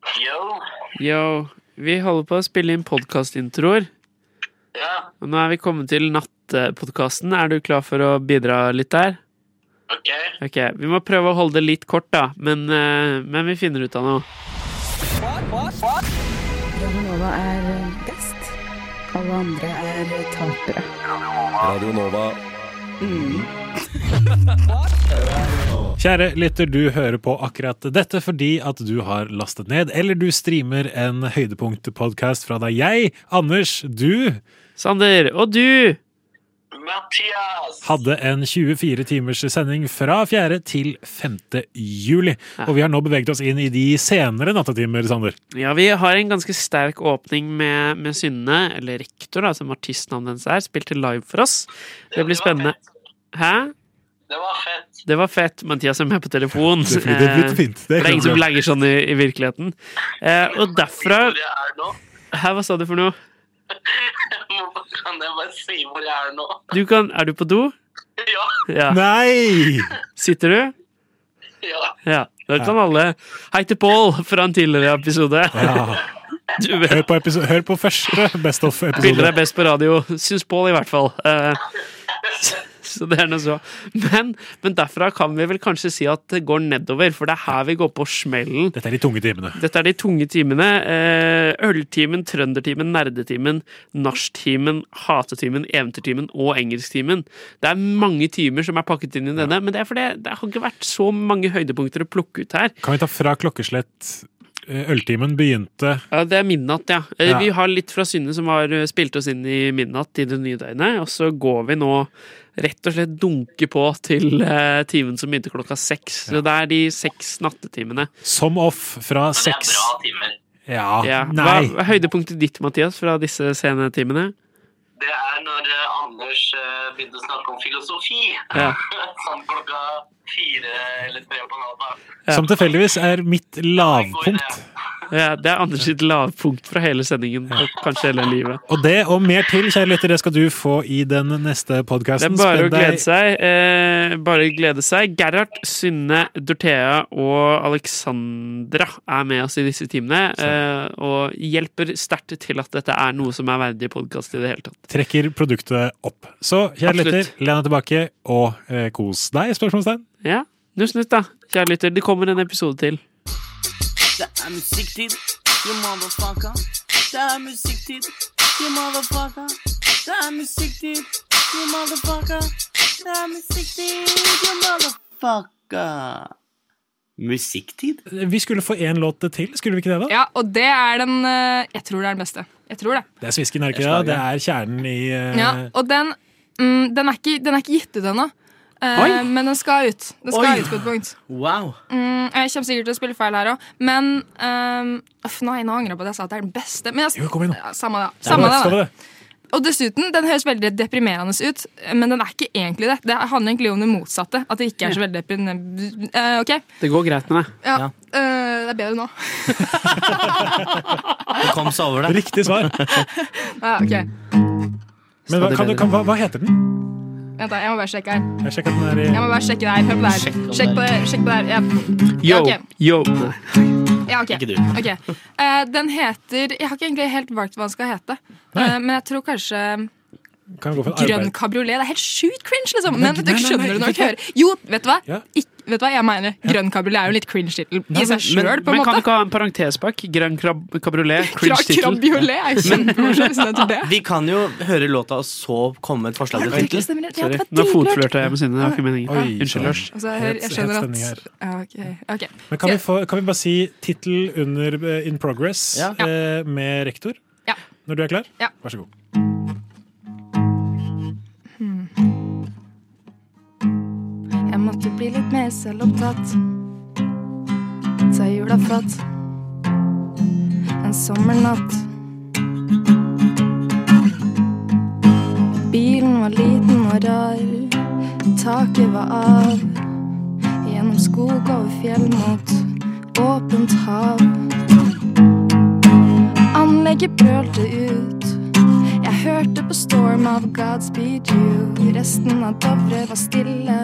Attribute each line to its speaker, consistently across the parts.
Speaker 1: Yo.
Speaker 2: Yo, vi holder på å spille inn podkastintroer.
Speaker 1: Ja,
Speaker 2: Og nå er vi kommet til nattepodkasten. Er du klar for å bidra litt der?
Speaker 1: ok.
Speaker 2: Ok, Vi må prøve å holde det litt kort, da. Men, eh, men vi finner ut av noe.
Speaker 3: Radionova er eh, best. Alle andre er eh, tapere.
Speaker 4: Radio Nova.
Speaker 5: Kjære lytter, du hører på akkurat dette fordi at du har lastet ned eller du streamer en høydepunktpodkast fra deg. Jeg, Anders, du
Speaker 2: Sander, og du!
Speaker 1: Mathias.
Speaker 5: hadde en 24 timers sending fra 4. til 5. juli. Og vi har nå beveget oss inn i de senere nattetimer, Sander.
Speaker 2: Ja, vi har en ganske sterk åpning med, med Synne, eller Rektor, da, som artistnavnet hennes er, spilte live for oss. Det blir
Speaker 1: var
Speaker 2: spennende.
Speaker 1: fett.
Speaker 2: Hæ?
Speaker 1: Det var fett.
Speaker 2: Det var fett. Mathias er med på telefon.
Speaker 5: Det flyter
Speaker 2: Eh,
Speaker 5: litt fint. Det
Speaker 2: For det er ingen som
Speaker 5: klart.
Speaker 2: legger sånn i, i virkeligheten. Eh, og derfra
Speaker 1: Hvor jeg er nå.
Speaker 2: Hæ, hva sa du for noe?
Speaker 1: Hvorfor kan jeg bare si hvor jeg er nå?
Speaker 2: Du kan, er du på do?
Speaker 1: Ja,
Speaker 2: Ja.
Speaker 5: Nei!
Speaker 2: Sitter du?
Speaker 1: ja.
Speaker 2: Ja. Da kan alle Hei til Pål fra en tidligere episode.
Speaker 5: Ja.
Speaker 2: Du vet,
Speaker 5: Hør, på episo- hør på første Best
Speaker 2: bilder
Speaker 5: of-episode.
Speaker 2: er best på radio. Syns Pål, i hvert fall. Eh, så det er nå så. Men, men derfra kan vi vel kanskje si at det går nedover, for det er her vi går på smellen.
Speaker 5: Dette er de tunge timene.
Speaker 2: Dette er de tunge timene. eh, Øltimen, trøndertimen, nerdetimen, nachtimen, hatetimen, eventyrtimen og engelsktimen. Det er mange timer som er pakket inn i denne, men det er fordi det har ikke vært så mange høydepunkter å plukke ut her.
Speaker 5: Kan vi ta fra klokkeslett eh, Øltimen begynte
Speaker 2: Ja, Det er midnatt, ja. Eh,
Speaker 5: Ja.
Speaker 2: Vi har litt fra Synne som har eh, spilt oss inn i midnatt i det nye døgnet, og så går vi nå rett og slett dunke på til eh, timen som begynte klokka seks. Så det er de seks nattetimene.
Speaker 5: som off fra
Speaker 1: Det er
Speaker 5: seks
Speaker 1: bra timer.
Speaker 5: Ja,
Speaker 2: Ja. Hva
Speaker 5: Ah, nei.
Speaker 2: hva er høydepunktet ditt, Mathias, fra disse sene timene?
Speaker 1: Det er når eh, Anders eh, begynte å snakke om filosofi.
Speaker 2: Ja.
Speaker 1: sånn klokka fire eller tre på natta.
Speaker 2: Ja.
Speaker 5: Som tilfeldigvis er mitt lavpunkt.
Speaker 2: Ja, det er Anders sitt lavpunkt fra hele sendingen, og kanskje hele livet.
Speaker 5: Og det og mer til, kjære lytter, det skal du få i den neste
Speaker 2: Det er
Speaker 5: podkasten.
Speaker 2: bare å glede seg. Eh, bare glede seg. Gerhard, Synne, Dorthea og Alexandra er med oss i disse timene. Eh, og hjelper sterkt til at dette er noe som er verdig podkast i det hele tatt.
Speaker 5: Trekker produktet opp. Så kjære
Speaker 2: Absolutt.
Speaker 5: lytter, len deg tilbake og eh, kos deg, spørsmålstegn.
Speaker 2: Ja, Nuss nytt, da, kjære lytter. Det kommer en episode til.
Speaker 6: Det er musikktid, you motherfucker. Det er musikktid, you motherfucker. Det er musikktid, you motherfucker. Det er musikktid, you motherfucker. Musikktid?
Speaker 5: Vi skulle få én låt til, skulle vi ikke det? da?
Speaker 7: Ja, og det er den eh, Jeg tror det er den beste. Jeg tror det.
Speaker 5: Det er svisken, er det ikke det? Det er kjernen i eh,
Speaker 7: Ja, og den, mm, den, er ikke, den er ikke gitt ut ennå. Eh,
Speaker 2: Oi.
Speaker 7: men den skal ut. Den skal
Speaker 6: Oi.
Speaker 7: ut på et punkt.
Speaker 6: Wow.
Speaker 7: Mm, jeg kommer sikkert til å spille feil her òg, men ehm, uff, Nei, nå angrer jeg på at jeg sa at det er den beste. Men jeg,
Speaker 5: Jo, kom igjen nå.
Speaker 7: ja, samme det.
Speaker 5: Skal
Speaker 7: Samme
Speaker 5: vi- skal vi
Speaker 7: det da.
Speaker 5: det.
Speaker 7: Og dessuten, den høres veldig deprimerende ut, men den er ikke egentlig det. Det handler egentlig om det motsatte. At det ikke er så veldig deprimerende. Eh, ok,
Speaker 2: Det går greit med det.
Speaker 7: ja. Eh, det er bedre nå.
Speaker 6: Du kom seg over det.
Speaker 5: Riktig svar.
Speaker 7: Ja, ok,
Speaker 5: Men hva, kan du, kan, hva, hva heter den?
Speaker 7: Vent, da. Jeg må bare sjekke her.
Speaker 5: Jeg sjekker den der i
Speaker 7: Jeg må bare sjekke det her. Hør på det her.
Speaker 6: Sjekk om
Speaker 7: Sjekk på det her. Sjekk på det her. Ja.
Speaker 2: Yo,
Speaker 7: Ja, ok.
Speaker 2: yo. Nei.
Speaker 7: Ja, ok.
Speaker 6: Ikke du.
Speaker 7: Ok. Eh, den heter Jeg har ikke egentlig helt valgt hva den skal hete. Eh, men jeg tror kanskje
Speaker 5: Kan vi gå for en
Speaker 7: Grønn
Speaker 5: arbeid?
Speaker 7: kabriolet. Det er helt sjukt cringe, liksom. Men
Speaker 5: nei,
Speaker 7: du
Speaker 5: nei, nei,
Speaker 7: skjønner det når du
Speaker 5: vet du hva?
Speaker 7: ikke hører. Jo, vet du hva?
Speaker 5: Ja.
Speaker 7: Ikk- vet du hva jeg mener? Grønn kabriolet er jo en litt cringe tittel i seg
Speaker 2: Men,
Speaker 7: sjøl, på en
Speaker 2: men kan du
Speaker 7: måte.
Speaker 2: ikke ha en parentes bak? Grønn krab kabriolet,
Speaker 7: Kra-
Speaker 2: cringe tittel.
Speaker 7: Krabiolet er jo kjempemorsomt. hvis den heter det.
Speaker 6: Vi kan jo høre låta og så komme et forslag til
Speaker 7: Det
Speaker 6: tittel.
Speaker 7: stemmer, ja,
Speaker 2: Sorry. Nå
Speaker 7: det var dritlurt.
Speaker 2: fotflørta jeg med Synne. Det var ikke meningen.
Speaker 5: Oi,
Speaker 2: Unnskyld, Lars.
Speaker 7: Altså, jeg, hører- jeg
Speaker 5: Het-
Speaker 7: skjønner
Speaker 5: het stemning her.
Speaker 7: at ja, Ok. ok.
Speaker 5: Men kan vi, få, kan vi bare si tittel under eh, In Progress
Speaker 6: Ja.
Speaker 5: eh, med rektor?
Speaker 7: Ja.
Speaker 5: Når du er klar?
Speaker 7: Ja.
Speaker 5: Vær så god.
Speaker 7: Jeg måtte bli litt mer selvopptatt. Ta jula fatt. En sommernatt. Bilen var liten og rar. Taket var av. Gjennom skog over fjell mot åpent hav. Anlegget brølte ut. Jeg hørte på Storm av Godspeed You. Resten av Dovre var stille.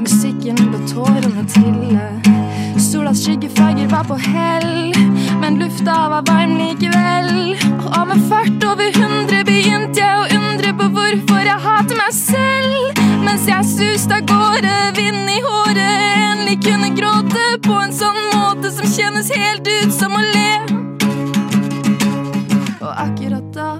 Speaker 7: Musikken lot tårene trille. Solas skyggefarger var på hell, men luft jeg var varm likevel. Og av med fart over 100 begynte jeg å undre på hvorfor jeg hater meg selv. Mens jeg suste av gårde, vind i håret, endelig kunne gråte på en sånn måte som kjennes helt ut som å le. Og akkurat da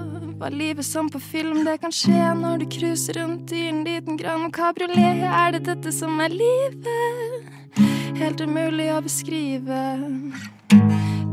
Speaker 7: var livet som på film, det kan skje når du cruiser rundt i en liten grønn kabriolet. Er det dette som er livet? Helt umulig å beskrive.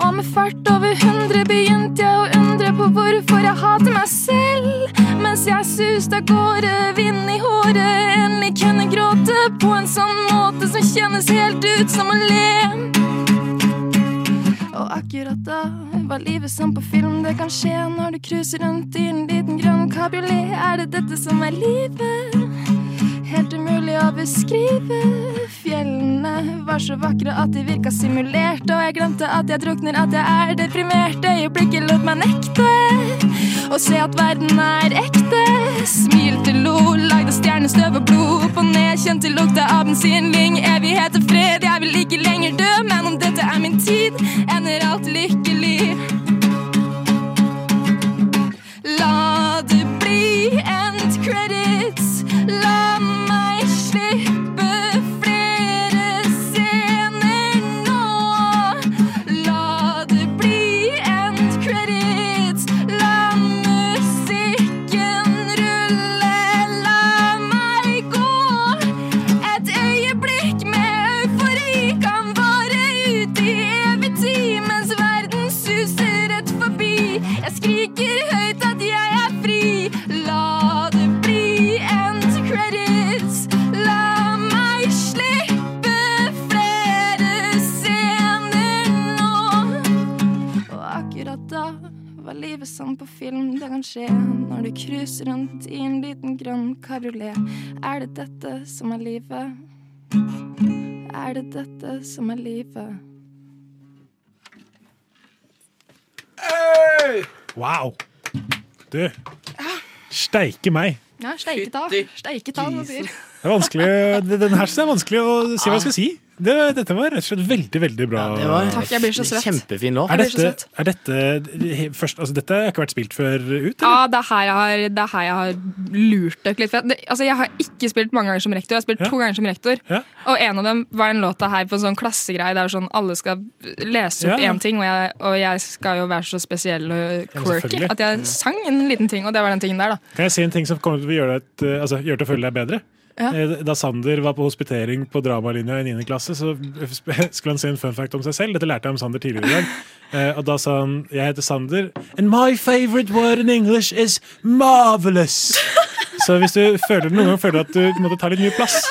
Speaker 7: Og med fart over hundre begynte jeg å undre på hvorfor jeg hater meg selv. Mens jeg suste av gårde, vind i håret, endelig kunne gråte på en sånn måte som kjennes helt ut som å le. Og akkurat da var livet som på film. Det kan skje når du cruiser rundt i en liten grønn kabriolet. Er det dette som er livet? Helt umulig å beskrive. Fjellene var så vakre at de virka simulert. Og jeg glemte at jeg drukner, at jeg er deprimert. Øyeblikket lot meg nekte å se at verden er ekte. Smilte, lo, lagde stjernestøv og blod. Opp og ned, kjente lukta av bensinlyng. Evighet og fred, jeg vil ikke lenger dø. Men om dette er min tid, ender alt lykkelig. La det bli end credits. La meg slippe flere scener nå. La det bli end credits. La musikken rulle. La meg gå. Et øyeblikk med eufori kan vare ut i evig tid mens verden suser rett forbi. Jeg skriker høyt at jeg er fri. La det bli end credits. La meg slippe flere scener nå. Og akkurat da var livet som på film. Det kan skje når du cruiser rundt i en liten grønn kabriolet. Er det dette som er livet? Er det dette som er livet?
Speaker 5: Wow! Du, steike meg.
Speaker 7: Ja, steiket av.
Speaker 6: Fytti
Speaker 7: Steiket av, man sier.
Speaker 5: Det er vanskelig, det- den her synes jeg er vanskelig å si hva jeg skal si. Det, dette var rett og slett veldig, veldig bra.
Speaker 6: Det var
Speaker 7: Takk, jeg blir så svett.
Speaker 6: Kjempefin låt.
Speaker 5: er
Speaker 7: det så
Speaker 5: dette, er dette he- først, altså, Dette har ikke vært spilt før ut?
Speaker 8: Ja, det er her jeg har, det er her jeg har lurt dere litt. For jeg, det, altså, jeg har ikke spilt mange ganger som rektor. Jeg har spilt
Speaker 5: Ja.
Speaker 8: to ganger som rektor.
Speaker 5: Ja.
Speaker 8: Og en av dem var en låt her på en sånn klassegreie der sånn alle skal lese opp
Speaker 5: Ja, ja.
Speaker 8: én ting, og jeg, og jeg skal jo være så spesiell og
Speaker 5: Ja,
Speaker 8: quirky
Speaker 5: selvfølgelig.
Speaker 8: at jeg sang en liten ting, og det var den tingen der, da.
Speaker 5: Kan jeg si en ting som kommer til å gjøre deg, et- altså, gjøre deg å føle deg bedre?
Speaker 8: Ja.
Speaker 5: Eh, Da Sander var på hospitering på dramalinja i 9. klasse, så sp- skulle han si en fun fact om seg selv. Dette lærte jeg om Sander tidligere i dag. Eh, Og da sa han Jeg heter Sander, and my favorite word in English is marvelous. Så hvis du føler noen gang føler at du måtte ta litt mye plass,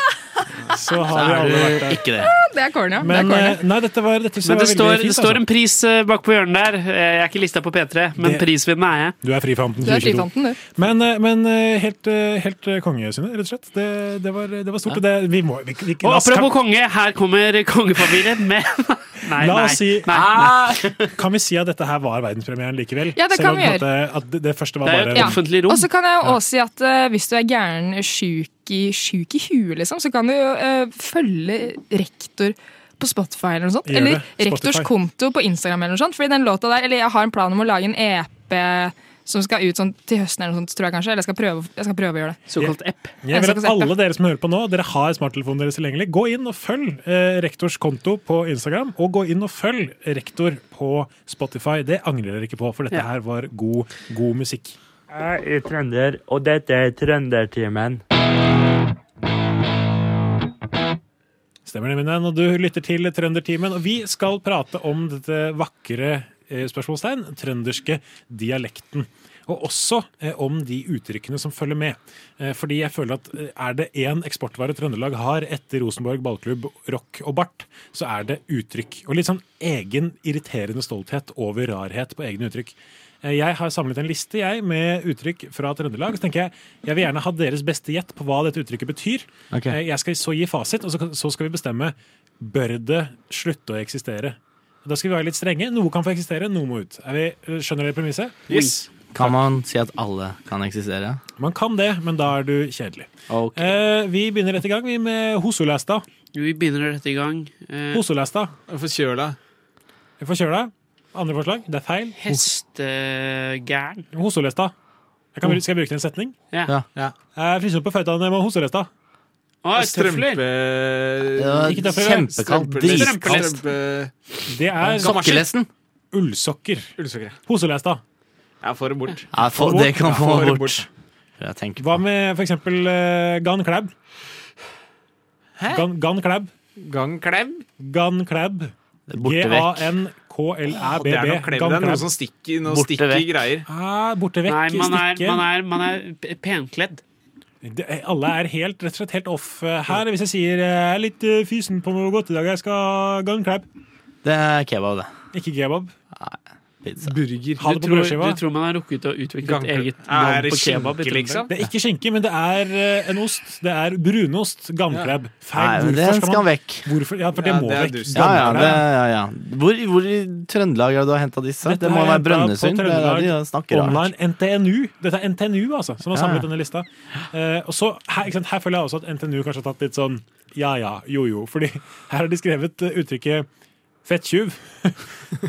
Speaker 5: så
Speaker 6: Så
Speaker 5: har vi
Speaker 6: er
Speaker 5: alle vært
Speaker 6: du
Speaker 5: der.
Speaker 6: ikke det.
Speaker 8: Det er corny, ja. det er
Speaker 5: Men
Speaker 8: corny.
Speaker 5: eh, nei, dette var, dette synes jeg
Speaker 2: Men det
Speaker 5: var
Speaker 2: står,
Speaker 5: veldig
Speaker 2: det
Speaker 5: fint.
Speaker 2: står
Speaker 5: altså.
Speaker 2: en pris eh, bak på hjørnet der. Eh, Jeg er ikke lista på P3, men
Speaker 5: Det-
Speaker 2: prisvinnende er jeg.
Speaker 5: Du er frifanten
Speaker 8: Du er
Speaker 5: 2022.
Speaker 8: frifanten, du.
Speaker 5: Men, eh, men eh, helt, eh, helt eh, konge, Synne, rett og slett. Det, det, var, det var stort. og Det, vi må, vi, vi,
Speaker 2: Og
Speaker 5: la oss-
Speaker 2: apropos konge, her kommer kongefamilien med Nei,
Speaker 5: La
Speaker 2: nei.
Speaker 5: oss si- Ah!
Speaker 2: nei.
Speaker 5: kan, kan vi si at dette her var verdenspremieren likevel?
Speaker 8: Ja, det
Speaker 5: Selv
Speaker 8: kan
Speaker 5: om
Speaker 8: vi
Speaker 5: på en måte at det, det første var
Speaker 2: Det er
Speaker 5: bare
Speaker 2: jo et offentlig rom.
Speaker 8: Og så
Speaker 7: Altså-
Speaker 8: kan jeg jo også si at eh, hvis du er gæren sjuk i, sjuk i huet, liksom, så kan du jo eh, følge rektor på Spotify eller noe sånt.
Speaker 5: Gjør
Speaker 8: Eller
Speaker 5: det.
Speaker 8: rektors
Speaker 5: Spotify.
Speaker 8: konto på Instagram eller noe sånt. Fordi den låta der, eller jeg har en plan om å lage en EP som skal ut sånn til høsten eller noe sånt, tror jeg kanskje. Eller jeg skal prøve, jeg skal prøve å gjøre det.
Speaker 2: Såkalt app.
Speaker 5: Jeg vil
Speaker 8: Jeg skal
Speaker 5: at
Speaker 8: ikke
Speaker 5: alle dere som hører på nå, dere har smarttelefonen deres tilgjengelig. Gå inn og følg eh, rektors konto på Instagram, og gå inn og følg rektor på Spotify. Det angrer dere ikke på, for dette
Speaker 2: Ja.
Speaker 5: her var god, god musikk.
Speaker 9: Jeg er trønder, og dette er Trøndertimen.
Speaker 5: Stemmer det, mine venn. Og du lytter til Trøndertimen. Og vi skal prate om dette vakre eh, spørsmålstegn, trønderske dialekten. Og også eh, om de uttrykkene som følger med. Eh, fordi jeg føler at eh, er det én eksportvare Trøndelag har etter Rosenborg, ballklubb, rock og bart, så er det uttrykk. Og litt sånn egen irriterende stolthet over rarhet på egne uttrykk. Eh, Jeg har samlet en liste jeg, med uttrykk fra Trøndelag. Så tenker Jeg jeg vil gjerne ha deres beste gjett på hva dette uttrykket betyr.
Speaker 6: Ok.
Speaker 5: Eh, Jeg skal så gi fasit, og så- så skal vi bestemme bør det slutte å eksistere. Da skal vi være litt strenge. Noe kan få eksistere, noe må ut. Er vi, eh, skjønner dere premisset?
Speaker 2: Yes.
Speaker 6: Kan man si at alle kan eksistere?
Speaker 5: Man kan det, men da er du kjedelig.
Speaker 6: Ok.
Speaker 5: Eh, vi begynner rett i gang vi med Hosolesta.
Speaker 2: Vi begynner dette i gang. Eh,
Speaker 5: Hosolesta.
Speaker 10: Forkjøla.
Speaker 5: Forkjøla. Andre forslag? Det er feil.
Speaker 2: Hestegæren.
Speaker 5: Hosolesta. Jeg kan, bru- skal jeg bruke det i en setning?
Speaker 2: Ja.
Speaker 6: Ja.
Speaker 10: Ja.
Speaker 5: Eh, Fryse opp på føttene med Hosolesta.
Speaker 2: Å, tøfler!
Speaker 6: Det
Speaker 10: Strømpe...
Speaker 6: var
Speaker 5: Ikke derfor,
Speaker 6: kjempekaldt.
Speaker 10: Strømpelest.
Speaker 6: Dritkaldt.
Speaker 10: Strømpe-
Speaker 5: Det er
Speaker 6: Sokkelesten.
Speaker 5: ullsokker.
Speaker 10: Ullsokker.
Speaker 5: Hosolesta.
Speaker 10: Jeg får det bort.
Speaker 6: Ja, få, det kan få
Speaker 10: Får det
Speaker 6: bort. Jeg tenker på
Speaker 5: Hva med for eksempel eh, Gan Klæb? Gan, Gan Klæb.
Speaker 10: Gang klem.
Speaker 5: Gan Klæb.
Speaker 6: borte
Speaker 10: Å, Det er
Speaker 6: vekk.
Speaker 10: noe
Speaker 5: G-a-n-k-l-æ-b-b.
Speaker 10: klem. Det er noe som stikker, noe
Speaker 6: Borte
Speaker 10: stikker
Speaker 6: vekk.
Speaker 10: greier.
Speaker 5: Ah, borte vekk.
Speaker 2: Nei, man er,
Speaker 5: stikke.
Speaker 2: man er, man er p- penkledd.
Speaker 5: Det, er- alle er helt, rett og slett helt off eh, her. Hvis jeg sier eh, jeg er litt eh, fysen på noe godt i dag, jeg skal ha Gan Klæb.
Speaker 6: Det er kebab, det.
Speaker 5: Ikke kebab.
Speaker 6: Pizza.
Speaker 10: Burger.
Speaker 5: Ha
Speaker 2: Du
Speaker 5: det på
Speaker 2: tror,
Speaker 5: brødskiva.
Speaker 2: du tror man har rukket å utvikle et
Speaker 10: Gangkle-
Speaker 2: eget
Speaker 10: Er
Speaker 2: navn
Speaker 10: det
Speaker 2: på kebab? i
Speaker 10: skinke,
Speaker 2: Trøndelag?
Speaker 10: liksom?
Speaker 5: Det er ikke skinke, men det er eh, en ost. Det er brunost. Gan Klæb.
Speaker 6: Nei,
Speaker 5: Feil.
Speaker 6: men den skal vekk.
Speaker 5: Hvorfor? Ja, for det
Speaker 10: Ja,
Speaker 5: må
Speaker 10: det er
Speaker 5: vekk.
Speaker 10: dust.
Speaker 6: Ja, ja,
Speaker 5: Gan Klæb.
Speaker 6: det, ja, ja. Hvor, hvor i Trøndelag er det du har henta disse?
Speaker 5: Dette
Speaker 6: det
Speaker 5: har
Speaker 6: må
Speaker 5: jeg
Speaker 6: være
Speaker 5: hentet
Speaker 6: Brønnøysund.
Speaker 5: på
Speaker 6: Det er der de
Speaker 5: Trøndelag
Speaker 6: snakker rart.
Speaker 5: Online NTNU. Dette er NTNU altså, som har
Speaker 6: Ja.
Speaker 5: samlet denne lista. Eh, og så, her, ikke sant, her føler jeg også at NTNU kanskje har tatt litt sånn ja ja, jo jo. Fordi her har de skrevet eh, uttrykket fettjuv.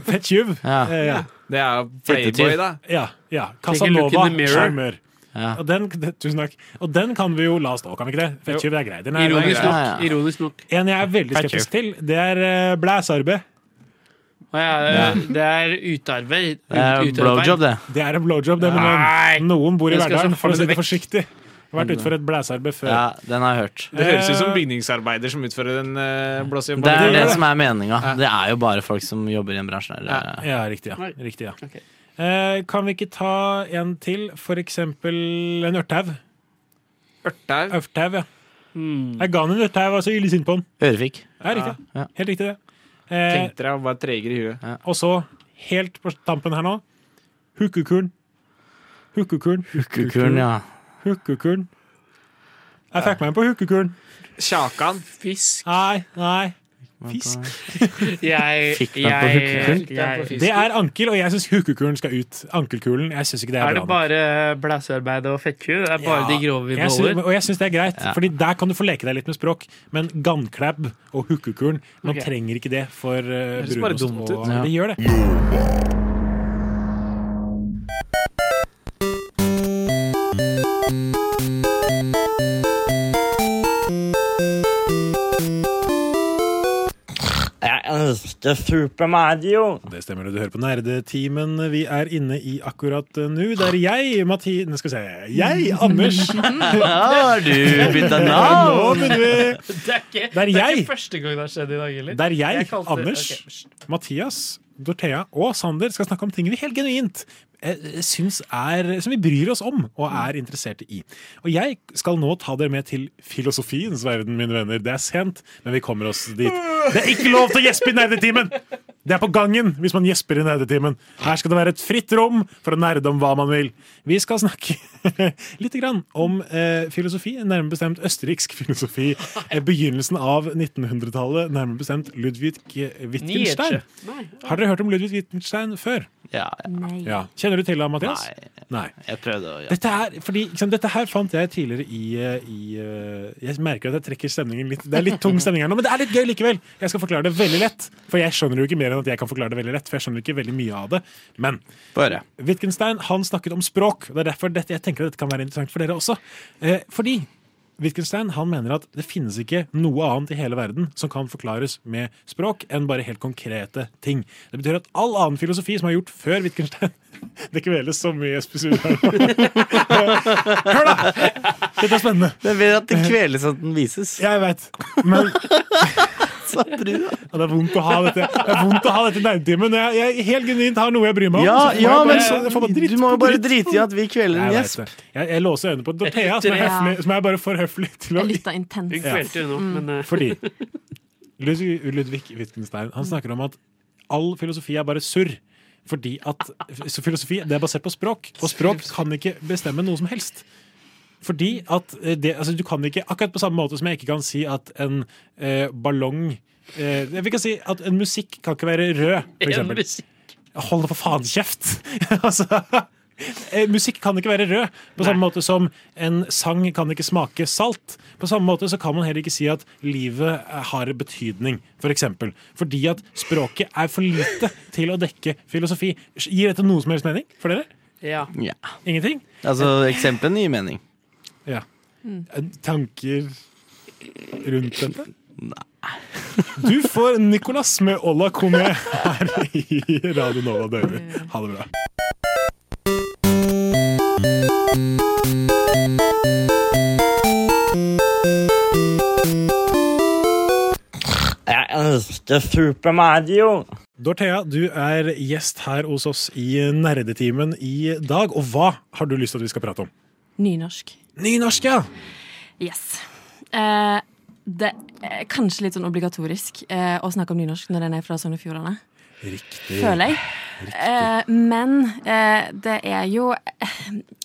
Speaker 5: fettjuv.
Speaker 6: Ja.
Speaker 5: Eh, ja.
Speaker 10: Det er jo
Speaker 6: Fettetyv.
Speaker 10: Playboy, da.
Speaker 5: ja, ja.
Speaker 2: Take a look in
Speaker 5: Casanova.
Speaker 2: the mirror.
Speaker 5: Sjarmør.
Speaker 6: Ja.
Speaker 5: Og den, tusen takk. Og den kan vi jo la stå, kan vi ikke det? Fettjuv det er greit. Den er-
Speaker 2: Ironisk
Speaker 6: Ja, ja.
Speaker 2: nok. Ironisk nok.
Speaker 5: En jeg er veldig
Speaker 10: Fettjuv.
Speaker 5: skeptisk til, det er eh, blæsarbeid.
Speaker 2: Å, ja, det er utarbeid. Ut-
Speaker 6: Det er
Speaker 2: utarbeid.
Speaker 6: blowjob, det.
Speaker 5: Det er en blowjob, det, men
Speaker 2: Nei.
Speaker 5: noen, noen bor i
Speaker 2: Det skal
Speaker 5: Verdalen,
Speaker 2: så
Speaker 5: for å si
Speaker 2: faen
Speaker 5: det
Speaker 2: vekk.
Speaker 5: forsiktig. Vært utfor et blæsarbeid før.
Speaker 6: Ja, den har jeg hørt.
Speaker 10: Det høres ut som
Speaker 5: Eh,
Speaker 10: bygningsarbeider som utfører en uh, blåsejobb.
Speaker 6: Det er det
Speaker 5: det.
Speaker 6: som er meninga. Det er jo bare folk som jobber i en bransje. Der.
Speaker 5: Ja, riktig. ja. Riktig, ja.
Speaker 2: Ok.
Speaker 5: Eh, kan vi ikke ta en til? For eksempel en ørtau.
Speaker 10: Ørtau.
Speaker 5: Ørtau, ja.
Speaker 2: Hmm.
Speaker 5: Jeg ga han en ørtau, altså ille sint på den.
Speaker 6: Ørefik.
Speaker 5: Ja, riktig.
Speaker 6: Ja.
Speaker 5: Helt riktig, det. Eh,
Speaker 10: Tenkte deg å være tregere i huet.
Speaker 5: og så, helt på tampen her nå, hukkukuren. Hukkukuren.
Speaker 6: Kukuren, ja.
Speaker 5: Hukkukuren. Jeg fikk meg en på hukkukuren.
Speaker 10: Kjakan.
Speaker 2: Fisk.
Speaker 5: Nei, nei. Fisk.
Speaker 2: Jeg,
Speaker 6: Fikk den på
Speaker 2: jeg,
Speaker 6: hooken.
Speaker 2: jeg
Speaker 5: Det er ankel, og jeg syns hukkukulen skal ut. Ankelkulen. Jeg syns ikke det er,
Speaker 2: Er det
Speaker 5: bra. nok.
Speaker 2: bare blæsearbeid og fettku? Det er bare
Speaker 5: Ja.
Speaker 2: de grove vi
Speaker 5: Jeg syns-
Speaker 2: beholder?
Speaker 5: og jeg syns det er greit,
Speaker 6: Ja.
Speaker 5: Fordi der kan du få leke deg litt med språk. Men gannklæbb og hukkukulen, man
Speaker 2: Ok.
Speaker 5: trenger ikke det for uh,
Speaker 10: høres bare
Speaker 5: brunost.
Speaker 10: dumt ut.
Speaker 5: Og,
Speaker 6: Ja.
Speaker 5: Det gjør det.
Speaker 9: Jeg elsker Super Mario.
Speaker 5: Det stemmer, det. du hører på Nerdetimen vi er inne i akkurat eh, nå. Der jeg, Mati... Nå skal vi se. Jeg, Anders.
Speaker 6: Har du bytta
Speaker 5: Nå
Speaker 6: navn?
Speaker 5: begynner vi.
Speaker 2: Det er ikke,
Speaker 5: er
Speaker 2: det er
Speaker 5: jeg.
Speaker 2: ikke første gang det har skjedd i dag heller.
Speaker 5: Der jeg,
Speaker 2: kalte-
Speaker 5: Anders,
Speaker 2: ok, hysj.
Speaker 5: Mathias, Dorthea og Sander skal snakke om ting vi helt genuint eh, syns er Som vi bryr oss om og er interesserte i. Og jeg skal nå ta dere med til filosofiens verden, mine venner. Det er sent, men vi kommer oss dit. Det er ikke lov til å gjespe i nerdetimen! Det er på gangen hvis man gjesper i nerdetimen. Her skal det være et fritt rom for å nerde om hva man vil. Vi skal snakke litt grann om eh, filosofi, nærmere bestemt østerriksk filosofi. Eh, Begynnelsen av 1900-tallet, nærmere bestemt Ludvig Wittgenstein.
Speaker 2: Nietzsche. Nei.
Speaker 5: Har dere hørt om Ludvig Wittgenstein før?
Speaker 6: Ja, ja.
Speaker 5: Ja. Kjenner du til ham, Mathias?
Speaker 6: Nei,
Speaker 5: Nei.
Speaker 6: jeg prøvde å ja.
Speaker 5: Dette, er, fordi, ikke sant, dette her fant jeg tidligere i, eh, i eh, Jeg merker at jeg trekker stemningen litt Det er litt tung stemning her nå, men det er litt gøy likevel. Jeg skal forklare det veldig lett, for jeg skjønner jo ikke mer enn at jeg kan forklare det veldig lett. For jeg skjønner ikke veldig mye av det Men
Speaker 6: Bare.
Speaker 5: Wittgenstein han snakket om språk. og Det er derfor dette, jeg tenker at dette kan være interessant for dere også. Eh, fordi Wittgenstein han mener at det finnes ikke noe annet i hele verden som kan forklares med språk enn bare helt konkrete ting. Det betyr at all annen filosofi som er gjort før Wittgenstein Det kveles så mye Espesur her nå. Hør, da! Dette er spennende.
Speaker 6: Det er bedre at det kveles enn at den vises.
Speaker 5: Jeg veit. Men
Speaker 6: sa brua.
Speaker 5: Ja, Det er vondt å ha dette Det er vondt å ha dette i nerdetimen. Jeg, jeg helt genuint har noe jeg bryr meg om.
Speaker 6: Ja,
Speaker 5: så får jeg
Speaker 6: ja,
Speaker 5: bare-
Speaker 6: men
Speaker 5: jeg får bare dritt
Speaker 6: du må
Speaker 5: på
Speaker 6: jo bare
Speaker 5: dritt.
Speaker 6: drite i at vi kveler en
Speaker 5: Jeg,
Speaker 6: gjesp.
Speaker 5: vet det. jeg, jeg låser øynene på Dorthea, som, er
Speaker 2: Ja.
Speaker 5: høflig- som er bare for høflig til å
Speaker 11: Jeg lytta intenst.
Speaker 2: Vi kvelte jo nå, men eh,
Speaker 5: Fordi Ludvig, Ludvig Wittgenstein Han snakker om at all filosofi er bare surr. Fordi at så filosofi det er basert på språk, og språk kan ikke bestemme noe som helst. Fordi at eh, det, altså du kan ikke, akkurat på samme måte som jeg ikke kan si at en eh, ballong eh, Vi kan si at en musikk kan ikke være rød, for
Speaker 2: en
Speaker 5: eksempel.
Speaker 2: musikk-
Speaker 5: Hold for faen kjeft! altså, eh, musikk kan ikke være rød, på samme måte som en sang kan ikke smake salt. På samme måte så kan man heller ikke si at livet eh, har betydning, for eksempel. Fordi at språket er for lite til å dekke filosofi. Gir dette noe som helst mening for dere?
Speaker 2: ja.
Speaker 6: Ja.
Speaker 5: Ingenting?
Speaker 6: Altså, eksemplene gir mening.
Speaker 5: Ja. Eh, Tanker rundt dette?
Speaker 6: Nei.
Speaker 5: Du får Nicolas med Olla Kone her i Radio Nova Døyre. Ha det bra.
Speaker 9: Jeg elsker Super Mario.
Speaker 5: Dorthea, du er gjest her hos oss i Nerdetimen i dag. Og hva har du lyst til at vi skal prate om?
Speaker 11: Nynorsk.
Speaker 5: Nynorsk, ja!
Speaker 11: Yes. Eh, det er kanskje litt sånn obligatorisk eh, å snakke om nynorsk når en er fra Sogn og Fjordane,
Speaker 5: Riktig.
Speaker 11: føler jeg. Eh, men eh, det er jo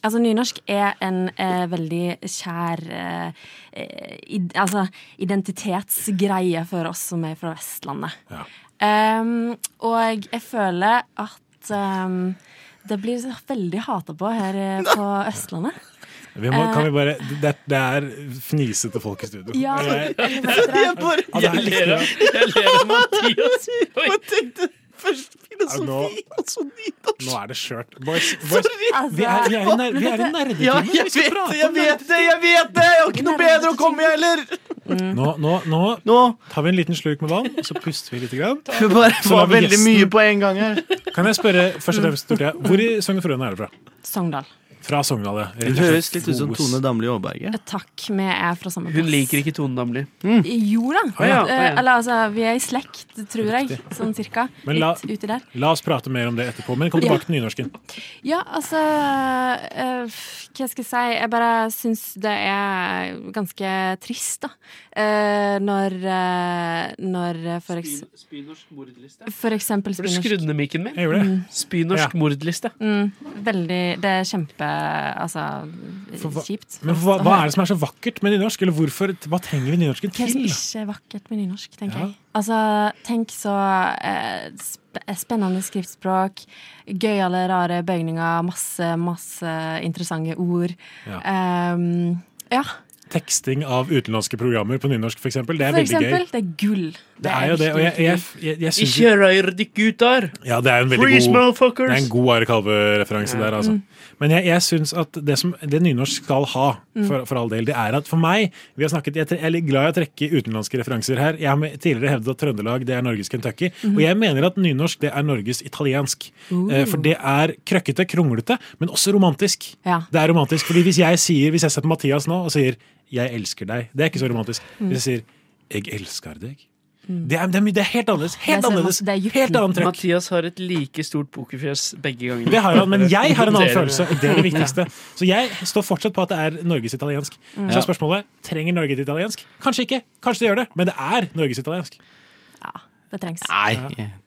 Speaker 11: Altså, nynorsk er en eh, veldig kjær eh, eh, id, Altså identitetsgreie for oss som er fra Vestlandet.
Speaker 5: Ja.
Speaker 11: Ehm, og jeg føler at ehm, det blir så veldig hata på her eh, på Østlandet.
Speaker 5: Vi må, kan vi bare, det, det er fnisete folk i studio.
Speaker 11: Ja,
Speaker 5: Jeg-
Speaker 11: eller
Speaker 6: Jeg
Speaker 11: hva heter det?
Speaker 6: bare
Speaker 5: Ja, det er litt-
Speaker 2: Jeg ler av- jeg ler av Mathias. Oi.
Speaker 6: tenkte først
Speaker 5: Ja, nå-
Speaker 6: og så nynorsk.
Speaker 5: Nå er det skjørt. Boys, boys,
Speaker 11: Altså,
Speaker 5: vi er, vi er, i ner- vi er i
Speaker 6: Ja,
Speaker 5: nerdetimen.
Speaker 6: jeg vet det, jeg vet det! Jeg vet det Jeg har ikke noe bedre å komme med heller!
Speaker 5: Nå, nå, nå
Speaker 6: Nå
Speaker 5: tar vi en liten slurk med vann, og så puster vi litt. Grann.
Speaker 6: det bare
Speaker 5: Så var
Speaker 6: var
Speaker 5: vi
Speaker 6: veldig
Speaker 5: gjesten.
Speaker 6: mye på en gang her.
Speaker 5: Kan jeg spørre, først og fremst, Dorthea, hvor i Sogn og Fjordane er du fra?
Speaker 11: Sogndal.
Speaker 5: Fra Sogndal, ja.
Speaker 6: Det
Speaker 5: Rett og slett.
Speaker 6: høres litt ut som Tone Damli Aaberge.
Speaker 11: Takk, vi er fra samme plass.
Speaker 2: Hun liker ikke Tone Damli.
Speaker 11: Jo da.
Speaker 2: Å ja, å ja.
Speaker 11: Eh, Eller altså, vi er i slekt, tror jeg. Sånn cirka.
Speaker 5: Men la-
Speaker 11: Litt uti der.
Speaker 5: La oss prate mer om det etterpå, men kom
Speaker 11: Ja.
Speaker 5: tilbake til nynorsken.
Speaker 11: Ja, altså eh, f- Hva skal jeg si? Jeg bare syns det er ganske trist, da. Eh, når uh, Når eh, for, eks
Speaker 2: Spynorsk mordliste.
Speaker 11: for eksempel
Speaker 2: Har du skrudd
Speaker 11: spinnersk
Speaker 2: ned mikken min?
Speaker 5: Jeg gjorde det.
Speaker 2: Spynorsk
Speaker 5: Ja.
Speaker 2: mordliste.
Speaker 11: mm, Veldig Det er kjempe Altså,
Speaker 5: For hva-
Speaker 11: kjipt.
Speaker 5: Men hva, hva er det som er så vakkert med nynorsk? Eller hvorfor, hva trenger vi nynorsken
Speaker 11: Hva som
Speaker 5: til?
Speaker 11: ikke er vakkert med nynorsk, tenker
Speaker 5: Ja.
Speaker 11: jeg. Altså, tenk så eh, sp spennende skriftspråk, gøyale, rare bøyninger, masse, masse interessante ord.
Speaker 5: Ja.
Speaker 11: Ehm, ja,
Speaker 5: Teksting av utenlandske programmer på nynorsk, for eksempel. Det er
Speaker 11: for
Speaker 5: veldig
Speaker 11: eksempel.
Speaker 5: gøy.
Speaker 11: Det er gull.
Speaker 5: Det er jo det, og jeg, jeg, jeg, jeg synes jo-
Speaker 2: Ikke rør dikk ut der!
Speaker 5: Ja, det er jo en veldig
Speaker 2: Freeze,
Speaker 5: god Det er
Speaker 2: motherfuckers!
Speaker 5: en god Are Kalve-referanse der,
Speaker 11: Mm.
Speaker 5: altså. Men jeg, jeg syns at det som det nynorsk skal ha,
Speaker 11: Mm.
Speaker 5: for, for all del, det er at for meg vi har snakket, Jeg tre- jeg er litt glad i å trekke utenlandske referanser her. Jeg har med- tidligere hevdet at Trøndelag det er Norges Kentucky.
Speaker 11: Mm-hmm.
Speaker 5: Og jeg mener at nynorsk det er Norges italiensk. Eh, For det er krøkkete, kronglete, men også romantisk.
Speaker 11: Ja.
Speaker 5: Det er romantisk, fordi hvis jeg sier, hvis jeg setter Mathias nå og sier 'jeg elsker deg', det er ikke så romantisk. Hvis jeg sier
Speaker 11: Mm.
Speaker 5: 'jeg elsker deg', det er, det er, mye- det er helt annerledes. Helt
Speaker 11: Det er så-
Speaker 5: annerledes.
Speaker 11: det er dypt.
Speaker 5: Helt annet trøkk.
Speaker 2: Mathias har et like stort pokerfjes begge ganger.
Speaker 5: Det har han, men jeg har en annen
Speaker 2: Dere-
Speaker 5: følelse, og det er det viktigste. Så jeg står fortsatt på at det er Norges italiensk.
Speaker 6: Mm.
Speaker 5: Så er spørsmålet trenger Norge et italiensk. Kanskje ikke, kanskje det gjør det, men det er Norges italiensk.
Speaker 11: Det trengs.
Speaker 6: Nei,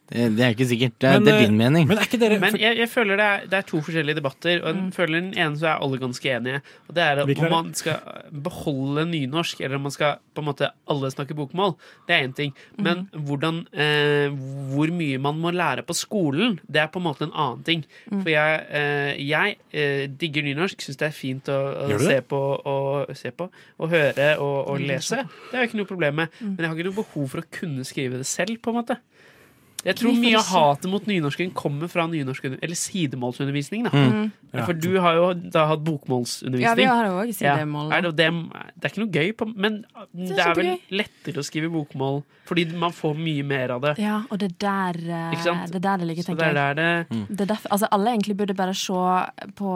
Speaker 6: det, det er ikke sikkert. Det er,
Speaker 5: Men,
Speaker 6: det er
Speaker 5: eh,
Speaker 6: din mening.
Speaker 5: Men er ikke dere
Speaker 2: Men jeg, jeg føler det er, det er to forskjellige debatter, og jeg
Speaker 5: Mm.
Speaker 2: føler den ene så er alle ganske enige. Og det er at
Speaker 5: Hvilken er
Speaker 2: om
Speaker 5: det?
Speaker 2: man skal beholde nynorsk, eller om man skal på en måte alle snakke bokmål, det er én ting. Men
Speaker 5: Mm.
Speaker 2: hvordan, eh, hvor mye man må lære på skolen, det er på en måte en annen ting.
Speaker 5: Mm.
Speaker 2: For jeg, eh, jeg eh, digger nynorsk, syns det er fint å,
Speaker 5: Gjør
Speaker 2: å
Speaker 5: du
Speaker 2: se,
Speaker 5: det?
Speaker 2: på, og, se på og høre og, og lese. Det har jeg ikke noe problem med. Men jeg har ikke noe behov for å kunne skrive det selv, på en måte. Jeg tror
Speaker 8: Vi får
Speaker 2: mye av
Speaker 8: se.
Speaker 2: hatet mot nynorsken kommer fra nynorsken, eller sidemålsundervisning. Da.
Speaker 6: Mm.
Speaker 2: Ja, For du har jo da hatt bokmålsundervisning.
Speaker 11: Ja, vi har jo også sidemål, da.
Speaker 2: Er det, det, det er ikke noe gøy, på, men det er, vel
Speaker 11: kjempegøy.
Speaker 2: lettere å skrive bokmål fordi man får mye mer av det.
Speaker 11: Ja, og det er der eh,
Speaker 2: Ikke sant?
Speaker 11: det, er der det ligger,
Speaker 2: Så
Speaker 11: tenker
Speaker 2: det er
Speaker 11: jeg.
Speaker 2: der det Mm.
Speaker 11: Det er derfor, altså, alle egentlig burde bare se på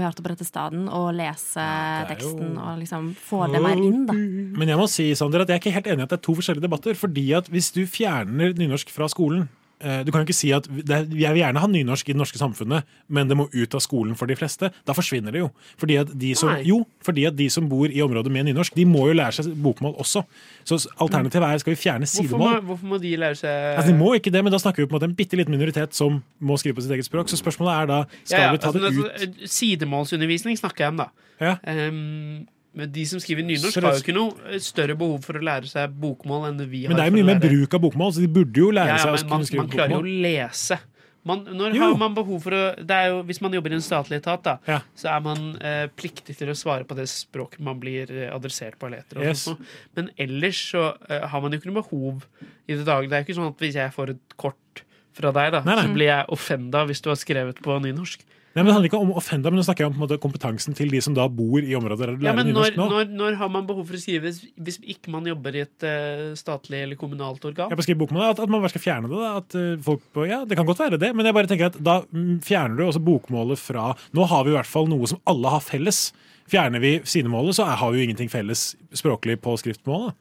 Speaker 11: Mjøte på rette staden og lese teksten og liksom få det mer inn, da.
Speaker 5: Men jeg må si, Sander, at jeg er ikke helt enig i at det er to forskjellige debatter. fordi at hvis du fjerner nynorsk fra skolen eh, du kan jo ikke si at det, er- Jeg vil gjerne ha nynorsk i det norske samfunnet, men det må ut av skolen for de fleste. Da forsvinner det jo. Fordi at de som,
Speaker 12: Nei.
Speaker 5: jo, fordi at de som bor i områder med nynorsk, de må jo lære seg bokmål også. Så s- alternativet er skal vi fjerne
Speaker 2: Hvorfor må,
Speaker 5: sidemål?
Speaker 2: hvorfor må de lære seg
Speaker 5: Altså, de må ikke det, men da snakker vi på en måte en bitte liten minoritet som må skrive på sitt eget språk. Så spørsmålet er da skal
Speaker 2: Ja, ja,
Speaker 5: vi ta det
Speaker 2: altså,
Speaker 5: ut
Speaker 2: altså, Sidemålsundervisning snakker jeg om, da. Ehm, men de som skriver nynorsk, har jo ikke noe eh, større behov for å lære seg bokmål enn vi har.
Speaker 5: Men det er jo
Speaker 2: for å
Speaker 5: mye mer
Speaker 2: lære-
Speaker 5: bruk av bokmål, så de burde jo lære
Speaker 2: Ja, ja,
Speaker 5: seg å
Speaker 2: men man,
Speaker 5: kunne skrive
Speaker 2: man klarer jo
Speaker 5: bokmål.
Speaker 2: å lese. Man, når har man behov for å det er jo, Hvis man jobber i en statlig etat, da, så er man eh, pliktig til å svare på det språket man blir eh, adressert på. eller etter og
Speaker 5: Yes.
Speaker 2: sånt noe. Men ellers så eh, har man jo ikke noe behov i det daglige. Det er jo ikke sånn at hvis jeg får et kort fra deg, da,
Speaker 5: Nei, nei.
Speaker 2: så blir jeg offenda hvis du har skrevet på nynorsk.
Speaker 5: Nei, men Det handler ikke om offenda, men nå snakker jeg om på en måte, kompetansen til de som da bor i områder der de
Speaker 2: Ja,
Speaker 5: lærer
Speaker 2: men når,
Speaker 5: nynorsk nå.
Speaker 2: når, når har man behov for å skrive hvis, hvis ikke man jobber i et eh, statlig eller kommunalt organ?
Speaker 5: Jeg bare skriver bokmål, at, at man bare skal fjerne det. da, at eh, folk på, ja, Det kan godt være det, men jeg bare tenker at da mm, fjerner du også bokmålet fra Nå har vi i hvert fall noe som alle har felles. Fjerner vi sidemålet, så er, har vi jo ingenting felles språklig på skriftmålet.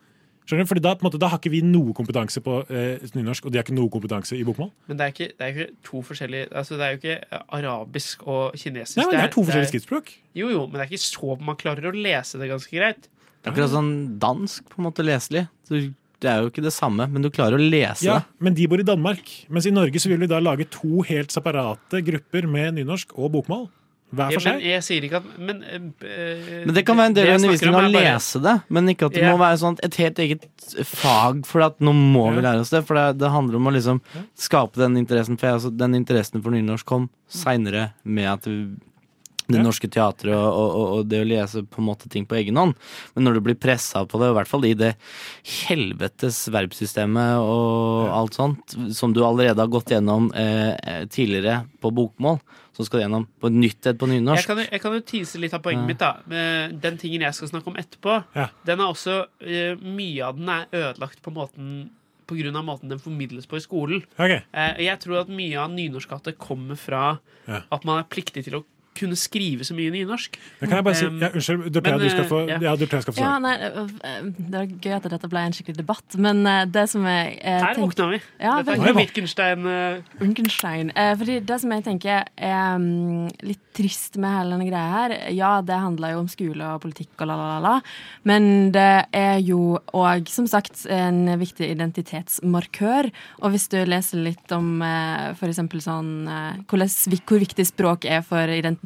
Speaker 5: Skjønner du? Fordi da, på en måte, da har ikke vi noe kompetanse på eh, nynorsk, og de har ikke noe kompetanse i bokmål.
Speaker 2: Men det er, ikke, det er ikke to forskjellige altså Det er jo ikke eh, arabisk og kinesisk.
Speaker 5: Nei, men det er to forskjellige skriftspråk.
Speaker 2: Jo, jo, men det er ikke så Man klarer å lese det ganske greit.
Speaker 6: Det er akkurat sånn dansk, på en måte leselig. Du, det er jo ikke det samme, men du klarer å lese
Speaker 5: Ja,
Speaker 6: det.
Speaker 5: men de bor i Danmark. Mens i Norge så vil vi da lage to helt separate grupper med nynorsk og bokmål. Hver
Speaker 2: Ja,
Speaker 5: for
Speaker 2: men
Speaker 5: seg.
Speaker 2: jeg sier ikke at Men, eh,
Speaker 6: Men det kan være en del av
Speaker 2: jeg snakker om
Speaker 6: undervisningen å
Speaker 2: er bare-
Speaker 6: lese det, men ikke at det
Speaker 2: Ja.
Speaker 6: må være sånn et helt eget fag, for at nå må vi lære oss det. For det, det handler om å liksom skape den interessen, for jeg, altså, den interessen for nynorsk kom seinere med at du- det norske teatret og, og, og- og det å lese på en måte ting på egen hånd. Men når du blir pressa på det, i hvert fall i det helvetes verbsystemet og alt sånt, som du allerede har gått gjennom eh, eh, tidligere på bokmål, så skal du gjennom på nytt et på
Speaker 2: jeg
Speaker 6: nynorsk.
Speaker 2: kan, jo- jeg kan jo tease litt av poenget
Speaker 6: Ja.
Speaker 2: mitt. da Men Den tingen jeg skal snakke om etterpå, Den er også eh, mye av den er ødelagt på måten på grunn av måten den formidles på i skolen.
Speaker 5: Ok.
Speaker 2: Eh, og jeg tror at mye av nynorskhatet kommer fra
Speaker 5: Ja.
Speaker 2: at man er pliktig til å kunne skrive så mye nynorsk.
Speaker 5: Men kan jeg bare si,
Speaker 2: Um,
Speaker 5: ja, Unnskyld, du
Speaker 2: men,
Speaker 5: du skal
Speaker 2: eh,
Speaker 5: få,
Speaker 2: ja.
Speaker 5: ja, du tror jeg skal få
Speaker 11: Ja,
Speaker 5: svare.
Speaker 11: nei, øh, øh, det var gøy at dette ble en skikkelig debatt, men øh, det som jeg eh,
Speaker 2: Her
Speaker 11: tenk-
Speaker 2: våkna vi.
Speaker 11: Ja,
Speaker 5: Ah,
Speaker 2: Dette er
Speaker 11: veldig.
Speaker 2: ikke Wittgenstein eh,
Speaker 11: Frankenstein. Eh, fordi det som jeg tenker er mm, litt trist med hele denne greia her Ja, det handler jo om skole og politikk og la, la, la, la. Men det er jo òg, som sagt, en viktig identitetsmarkør. Og hvis du leser litt om eh, f.eks. sånn eh, hvordan, vi- hvor viktig språk er for identiteten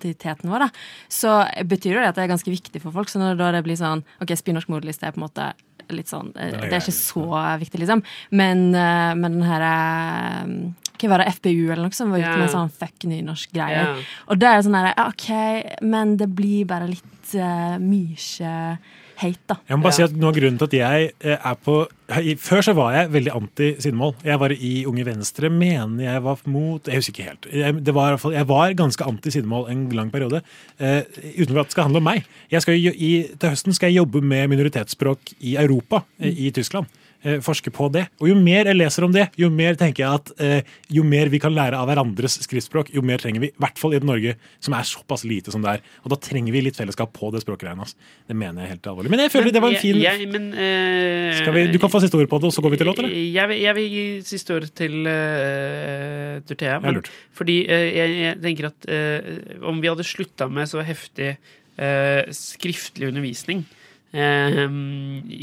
Speaker 11: vår, da, så betyr jo det at det er ganske viktig for folk. Så når da det blir sånn OK, spynorsk moderliste er på en måte litt sånn eh,
Speaker 13: Nei,
Speaker 11: Det er ikke så viktig, liksom. Men, eh, men den her eh, Hva var det, FPU eller noe som var ute med en
Speaker 13: Ja.
Speaker 11: sånn fuck nynorsk-greie.
Speaker 13: Ja.
Speaker 11: Og det er sånn her, ja, OK, men det blir bare litt uh, mye hate, da.
Speaker 5: Jeg må bare si at noe av grunnen til at jeg eh, er på i- Før så var jeg veldig anti sidemål. Jeg var i Unge Venstre, mener jeg var mot Jeg husker ikke helt. Jeg, det var, i hvert fall- jeg var ganske anti sidemål en lang periode. eh, uten at det skal handle om meg. Jeg skal, jo- i, til høsten skal jeg jobbe med minoritetsspråk i Europa, eh, i Tyskland. Eh, forske på det. Og jo mer jeg leser om det, jo mer tenker jeg at eh, jo mer vi kan lære av hverandres skriftspråk, jo mer trenger vi. I hvert fall i et Norge som er såpass lite som det er. Og da trenger vi litt fellesskap på det språkgreiene. ass. Det mener jeg helt alvorlig. Men jeg føler
Speaker 2: men
Speaker 5: det var en
Speaker 2: jeg-
Speaker 5: fin
Speaker 2: jeg, men, eh,
Speaker 5: Skal vi, Du kan få siste ord på det, og så går vi til låt, eller?
Speaker 2: Jeg vil, jeg vil gi siste ordet til uh, Durtea.
Speaker 5: Det er
Speaker 2: Men,
Speaker 5: lurt.
Speaker 2: fordi eh, jeg, jeg tenker at eh, om vi hadde slutta med så heftig eh, skriftlig undervisning eh,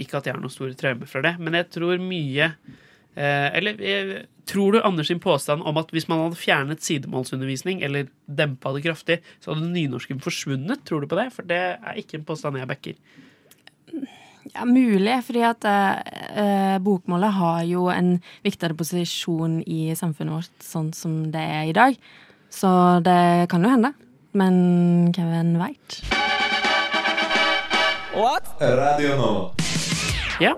Speaker 2: Ikke at jeg har noen store traumer fra det, men jeg tror mye eh, Eller eh, tror du Anders sin påstand om at hvis man hadde fjernet sidemålsundervisning, eller dempa det kraftig, så hadde nynorsken forsvunnet? Tror du på det? For det er ikke en påstand jeg backer.
Speaker 11: Ja, mulig, fordi at eh, eh, bokmålet har jo en viktigere posisjon i samfunnet vårt sånn som det er i dag. Så det kan jo hende. Men hvem veit?
Speaker 13: What?
Speaker 4: Radio Nova.
Speaker 2: Ja.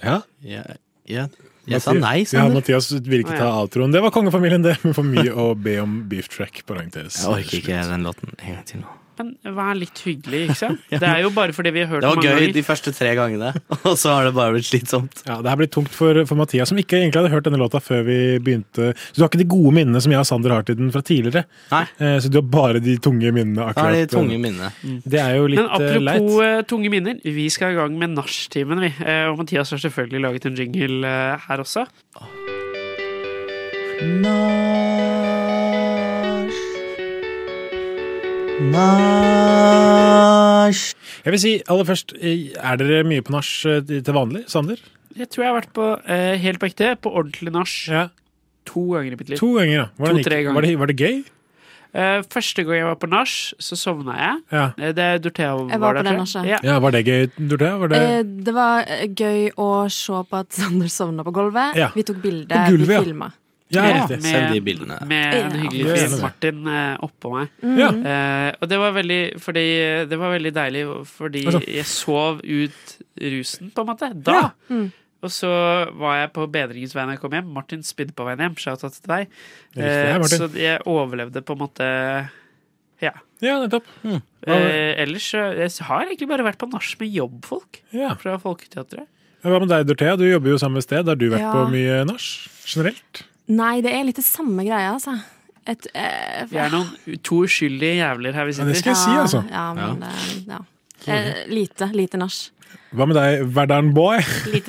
Speaker 6: Ja, ja. Jeg sa nei,
Speaker 5: Ja,
Speaker 6: Sander.
Speaker 5: Mathias vil ikke
Speaker 6: Å,
Speaker 5: ta
Speaker 6: ja.
Speaker 5: outroen. Det var kongefamilien, det. Men for mye å be om beef track. Parentes.
Speaker 6: Jeg orker ikke den låten en gang til nå.
Speaker 2: Men vær litt hyggelig, ikke sant? Det er jo bare fordi vi har hørt
Speaker 6: Det var
Speaker 2: mange
Speaker 6: gøy
Speaker 2: ganger.
Speaker 6: de første tre gangene, og så har det bare blitt slitsomt.
Speaker 5: Ja, Det her blir tungt for, for Mathias, som ikke egentlig hadde hørt denne låta før vi begynte. Så du har ikke de gode minnene som jeg og Sander har til den fra tidligere. Eh, Så du har bare de tunge minnene
Speaker 6: Da
Speaker 5: akkurat. eh,
Speaker 6: er de tunge minnene.
Speaker 5: Det er jo litt
Speaker 2: Men
Speaker 5: eh, leit.
Speaker 2: apropos eh, tunge minner, vi skal i gang med nachstimen, vi. Eh, Og Mathias har selvfølgelig laget en jingle eh, her også.
Speaker 5: Jeg vil si aller først, eh, er dere mye på nach eh, til vanlig, Sander?
Speaker 2: Jeg tror jeg har vært på eh, helt på ekte, på ordentlig nach, to ganger i mitt liv.
Speaker 5: To ganger, ja. Hvordan gikk-
Speaker 2: To-tre ganger.
Speaker 5: Var det, var det gøy?
Speaker 2: Eh, første gang jeg var på nach, så sovna jeg.
Speaker 5: Ja.
Speaker 2: Eh, Det er Dorthea var,
Speaker 11: Jeg var på
Speaker 2: der,
Speaker 11: den
Speaker 2: tror
Speaker 11: nachet.
Speaker 2: jeg. Ja.
Speaker 5: Ja, Var det gøy, Dorthea? Var det
Speaker 11: Eh, Det var eh, gøy å se på at Sander sovna på gulvet.
Speaker 5: Ja.
Speaker 11: Vi tok bilde,
Speaker 5: På gulvet,
Speaker 11: vi
Speaker 5: ja.
Speaker 11: filma.
Speaker 5: Ja,
Speaker 2: Med-
Speaker 5: riktig.
Speaker 6: Send de bildene.
Speaker 2: Med en hyggelig
Speaker 5: Ja.
Speaker 2: fyr, Martin, eh, oppå meg.
Speaker 5: Ja.
Speaker 2: Eh, og det var veldig fordi, Det var veldig deilig, fordi
Speaker 5: Altså.
Speaker 2: jeg sov ut rusen, på en måte. Da. Og så var jeg på bedringens vei når jeg kom hjem. Martin spydde på veien hjem. Shout-out til deg. Eh,
Speaker 5: Riktig, ja, Martin.
Speaker 2: så jeg overlevde på en måte Ja.
Speaker 5: Ja, nettopp.
Speaker 2: Eh, ellers så jeg har jeg egentlig bare vært på nach med jobbfolk
Speaker 5: Ja.
Speaker 2: fra Folketeatret.
Speaker 5: Hva med deg, Dorthea? Du jobber jo samme sted. Har du vært
Speaker 11: Ja.
Speaker 5: på mye nach generelt?
Speaker 11: Nei, det er litt det samme greia, altså. Et, eh,
Speaker 2: Vi er noen to uskyldige jævler her vi
Speaker 5: Ja, det
Speaker 2: sitter.
Speaker 5: skal jeg si, altså.
Speaker 11: Ja, men eh, ja. Eh, lite. Lite nach.
Speaker 5: Hva med deg, Verdalen Boy?
Speaker 11: Lite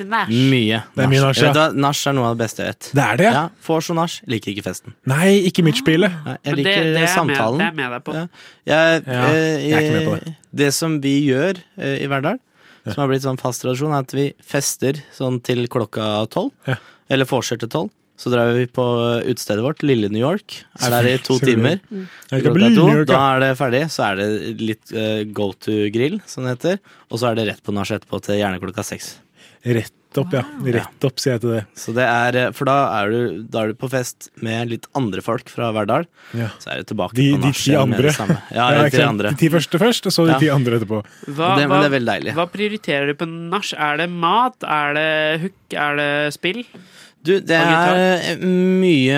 Speaker 11: nach.
Speaker 6: Mye.
Speaker 5: Det er mye nach, ja.
Speaker 6: Vet du hva, Nach er noe av det beste jeg vet.
Speaker 5: Det er det, ja.
Speaker 6: Ja, Får så nach. Liker ikke festen.
Speaker 5: Nei, ikke midtspillet.
Speaker 6: Nei,
Speaker 2: Men
Speaker 6: Jeg
Speaker 2: det,
Speaker 6: liker
Speaker 2: det, er med,
Speaker 6: samtalen.
Speaker 2: det er med deg på.
Speaker 6: Ja. Jeg,
Speaker 5: Ja,
Speaker 6: eh,
Speaker 5: jeg er ikke med på det.
Speaker 6: Det som vi gjør eh, i Verdal, som har blitt sånn fast tradisjon, er at vi fester sånn til klokka tolv.
Speaker 5: Ja.
Speaker 6: Eller forser til tolv. Så drar vi på utestedet vårt, Lille New York. Er der i to
Speaker 5: Selvfølgelig.
Speaker 6: timer.
Speaker 5: Jeg
Speaker 6: Klokka
Speaker 5: skal bli
Speaker 6: to,
Speaker 5: New York,
Speaker 6: da
Speaker 5: ja.
Speaker 6: er det ferdig. Så er det litt eh, go to grill, som det heter. Og så er det rett på nach etterpå til gjerne klokka seks.
Speaker 5: Rett opp, ja. Rett opp, sier jeg til det.
Speaker 6: Så det er, eh, For da er du, da er du på fest med litt andre folk fra Verdal.
Speaker 5: Ja.
Speaker 6: Så er du tilbake
Speaker 5: De,
Speaker 6: på
Speaker 5: de
Speaker 6: nach
Speaker 5: ti
Speaker 6: igjen med
Speaker 5: andre.
Speaker 6: det samme.
Speaker 5: Ja,
Speaker 6: Ja, de
Speaker 5: ikke
Speaker 6: ti
Speaker 5: sant?
Speaker 6: andre.
Speaker 5: De ti første først, og så de
Speaker 6: Ja.
Speaker 5: ti andre etterpå.
Speaker 2: Hva,
Speaker 6: Det- men det er veldig deilig.
Speaker 2: hva prioriterer du på nach? Er det mat? Er det hook? Er det spill?
Speaker 6: Du, det
Speaker 2: Og
Speaker 6: er eh, mye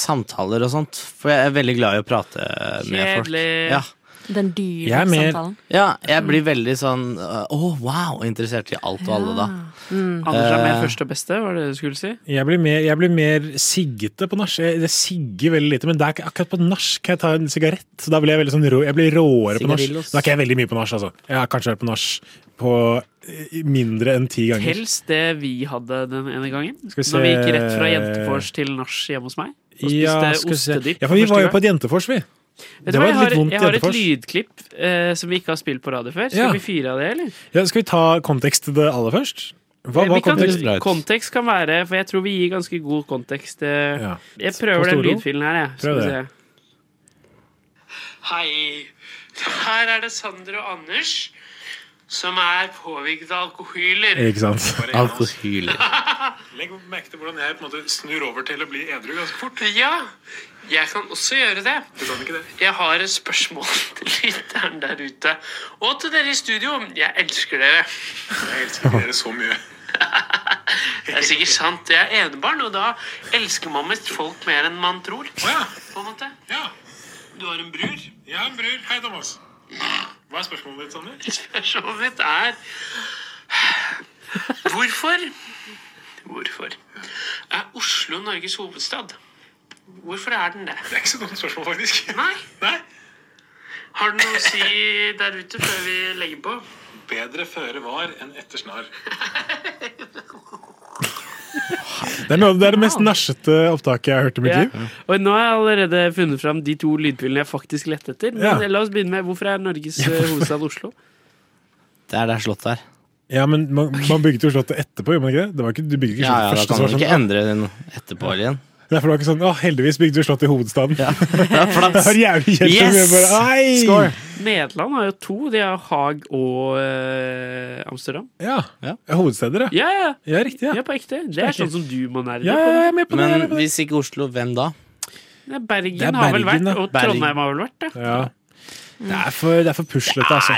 Speaker 6: samtaler og sånt, for jeg er veldig glad i å prate med folk.
Speaker 2: Kjedelig.
Speaker 6: Ja.
Speaker 11: Den
Speaker 5: Jeg
Speaker 11: dyre
Speaker 5: er mer-
Speaker 11: samtalen.
Speaker 6: ja, jeg blir veldig sånn øh, Å, wow! Interessert i alt og alle, da.
Speaker 11: Mm.
Speaker 2: Anders er med
Speaker 6: Eh.
Speaker 2: første og beste, var det det du skulle si?
Speaker 5: Jeg blir mer, jeg blir mer siggete på nach. Jeg, jeg sigger veldig lite, men det er ikke akkurat på nach kan jeg ta en sigarett. Så da blir jeg veldig sånn rå, jeg blir råere på nach.
Speaker 6: Sigarillos.
Speaker 5: Da er ikke jeg veldig mye på nach, altså. Jeg har kanskje vært på nach på eh, mindre enn ti ganger.
Speaker 2: Helst det vi hadde den ene gangen.
Speaker 5: Skal vi
Speaker 2: Når vi gikk
Speaker 5: se-
Speaker 2: rett fra jentefors til nach hjemme hos meg. Og spiste
Speaker 5: Ja, skal vi se.
Speaker 2: ostedipp.
Speaker 5: ja, for vi
Speaker 2: første
Speaker 5: var jo
Speaker 2: gang.
Speaker 5: på et jentefors, vi.
Speaker 2: Vet
Speaker 5: Det
Speaker 2: du hva,
Speaker 5: var
Speaker 2: jeg
Speaker 5: et
Speaker 2: har,
Speaker 5: litt vondt
Speaker 2: jeg har et
Speaker 5: jentefors.
Speaker 2: lydklipp eh, som vi ikke har spilt på radio før. Skal
Speaker 5: Ja.
Speaker 2: vi fyre av det, eller?
Speaker 5: Ja, skal vi ta kontekst til det aller først? Hva
Speaker 2: Eh,
Speaker 5: var
Speaker 2: vi kan,
Speaker 5: kontekst?
Speaker 6: Bra ut.
Speaker 2: kontekst kan være For jeg tror vi gir ganske god kontekst. eh.
Speaker 5: Ja.
Speaker 2: Jeg
Speaker 5: På
Speaker 2: prøver den
Speaker 5: store ord.
Speaker 2: lydfilen her, jeg.
Speaker 5: Prøv
Speaker 2: Skal vi
Speaker 5: det.
Speaker 2: se. Hei. Her er det Sander og Anders som er påvirket av alkohyler.
Speaker 5: Ikke sant?
Speaker 6: Alkohyler.
Speaker 5: Legg merke til hvordan jeg på en måte snur over til å bli edru ganske fort.
Speaker 2: Ja, jeg kan også gjøre det. Jeg har et spørsmål til lytteren der ute. Og til dere i studio. Jeg elsker dere.
Speaker 5: Jeg elsker dere så mye.
Speaker 2: Det er sikkert sant. Jeg er enebarn, og da elsker man mest folk mer enn man tror. På en måte.
Speaker 5: Ja,
Speaker 2: Du har en bror.
Speaker 5: jeg har en bror. Hei, Thomas. Hva er spørsmålet ditt, Sander?
Speaker 2: Spørsmålet mitt er Hvorfor Hvorfor er Oslo Norges hovedstad? Hvorfor er den det?
Speaker 5: Det er ikke så dumt spørsmål, faktisk.
Speaker 2: Nei.
Speaker 5: Nei.
Speaker 2: Har du noe å si der ute før vi legger på?
Speaker 5: Bedre føre var enn etter snar. Det er, noe, det er det mest nasjete opptaket jeg har hørt i mitt
Speaker 2: Ja.
Speaker 5: liv.
Speaker 2: Og nå har jeg allerede funnet fram de to lydpilene jeg faktisk lette etter. Men eh,
Speaker 5: Ja.
Speaker 2: la oss begynne med hvorfor er Norges eh, hovedstad Oslo?
Speaker 6: Det er der slottet er.
Speaker 5: Ja, men Man, man bygde jo slottet etterpå, gjorde man ikke det? det var ikke, du bygde ikke
Speaker 6: Ja, ja, da
Speaker 5: slottet
Speaker 6: kan man
Speaker 5: først.
Speaker 6: ikke
Speaker 5: Sånn,
Speaker 6: endre den etterpå igjen.
Speaker 5: «Å, derfor var det ikke sånn, å, heldigvis bygde vi slottet i hovedstaden.
Speaker 6: Ja, det er
Speaker 5: Det
Speaker 6: flaks.
Speaker 5: var jævlig kjent.
Speaker 6: Yes!
Speaker 5: men jeg Bare, «Ei!»
Speaker 6: Score!
Speaker 2: Nederland har jo to. De har Haag og eh, Amsterdam.
Speaker 5: Ja.
Speaker 6: Ja.
Speaker 5: Hovedsteder, ja.
Speaker 2: Ja, ja.
Speaker 5: Ja, riktig.
Speaker 2: Ja,
Speaker 5: Ja,
Speaker 2: på ekte. Det er sånn som du må nerde.
Speaker 5: ja, ja jeg er med på det. jeg
Speaker 6: Men
Speaker 5: er med på det.
Speaker 6: hvis ikke Oslo, hvem da?
Speaker 2: på. Bergen,
Speaker 5: Det er
Speaker 2: har vel
Speaker 5: Bergen,
Speaker 2: vært,
Speaker 5: da.
Speaker 2: og
Speaker 6: Bergen.
Speaker 2: Trondheim har vel vært, ja.
Speaker 5: Ja. Det er for, det er for puslete, altså.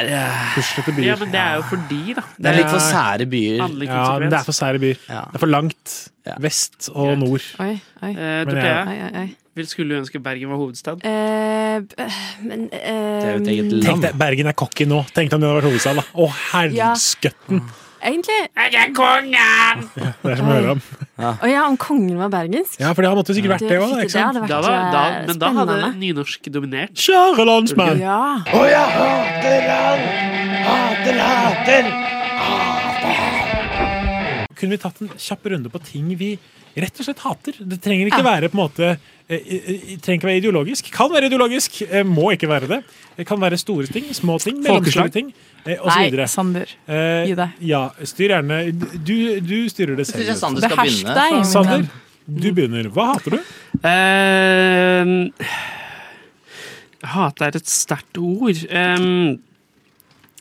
Speaker 5: Puslete byer.
Speaker 2: Ja, men det er jo fordi, da.
Speaker 5: Det er litt for sære
Speaker 6: byer.
Speaker 2: Handling
Speaker 5: Ja, men det er for sære byer. Det er for langt vest og nord.
Speaker 11: Oi, oi.
Speaker 2: Eh,
Speaker 5: Men
Speaker 2: Dorthea,
Speaker 11: Oi, oi, oi.
Speaker 2: vil- skulle du ønske Bergen var hovedstad?
Speaker 11: Eh, b- men eh,
Speaker 5: Tenk deg, Bergen er cocky nå. Tenk om det hadde vært hovedstad, da. Å,
Speaker 11: Ja.
Speaker 5: helskøtten!
Speaker 11: Egentlig
Speaker 2: Jeg er kongen!
Speaker 5: Det er som å høre om.
Speaker 2: Ah.
Speaker 11: Å ja, om kongen var bergensk?
Speaker 5: Ja, for det måtte jo sikkert vært det òg, ikke sant?
Speaker 11: Det hadde
Speaker 2: Da
Speaker 11: vært
Speaker 2: var, da,
Speaker 11: eh,
Speaker 2: men da hadde
Speaker 11: spennende.
Speaker 2: nynorsk dominert.
Speaker 5: Kjære landsmenn!
Speaker 11: Ja.
Speaker 12: Og jeg hater han! Hater, hater!
Speaker 5: Kunne vi tatt en kjapp runde på ting vi rett og slett hater? Det trenger ikke være på en måte eh, eh, trenger ikke være ideologisk. Kan være ideologisk, eh, må ikke være det. Det kan være store ting, små ting, mellomstore
Speaker 10: Folkeslag.
Speaker 5: ting eh, og så
Speaker 10: Nei,
Speaker 5: videre.
Speaker 8: Sander.
Speaker 5: Eh,
Speaker 10: gi deg.
Speaker 5: Ja, styr gjerne. Du, du styrer det
Speaker 6: synes
Speaker 5: selv.
Speaker 6: jeg Sander skal Behersk begynne. deg, min
Speaker 5: Sander,
Speaker 6: venn.
Speaker 5: du begynner. Hva hater du?
Speaker 2: Ehm, Hate er et sterkt ord. Ehm,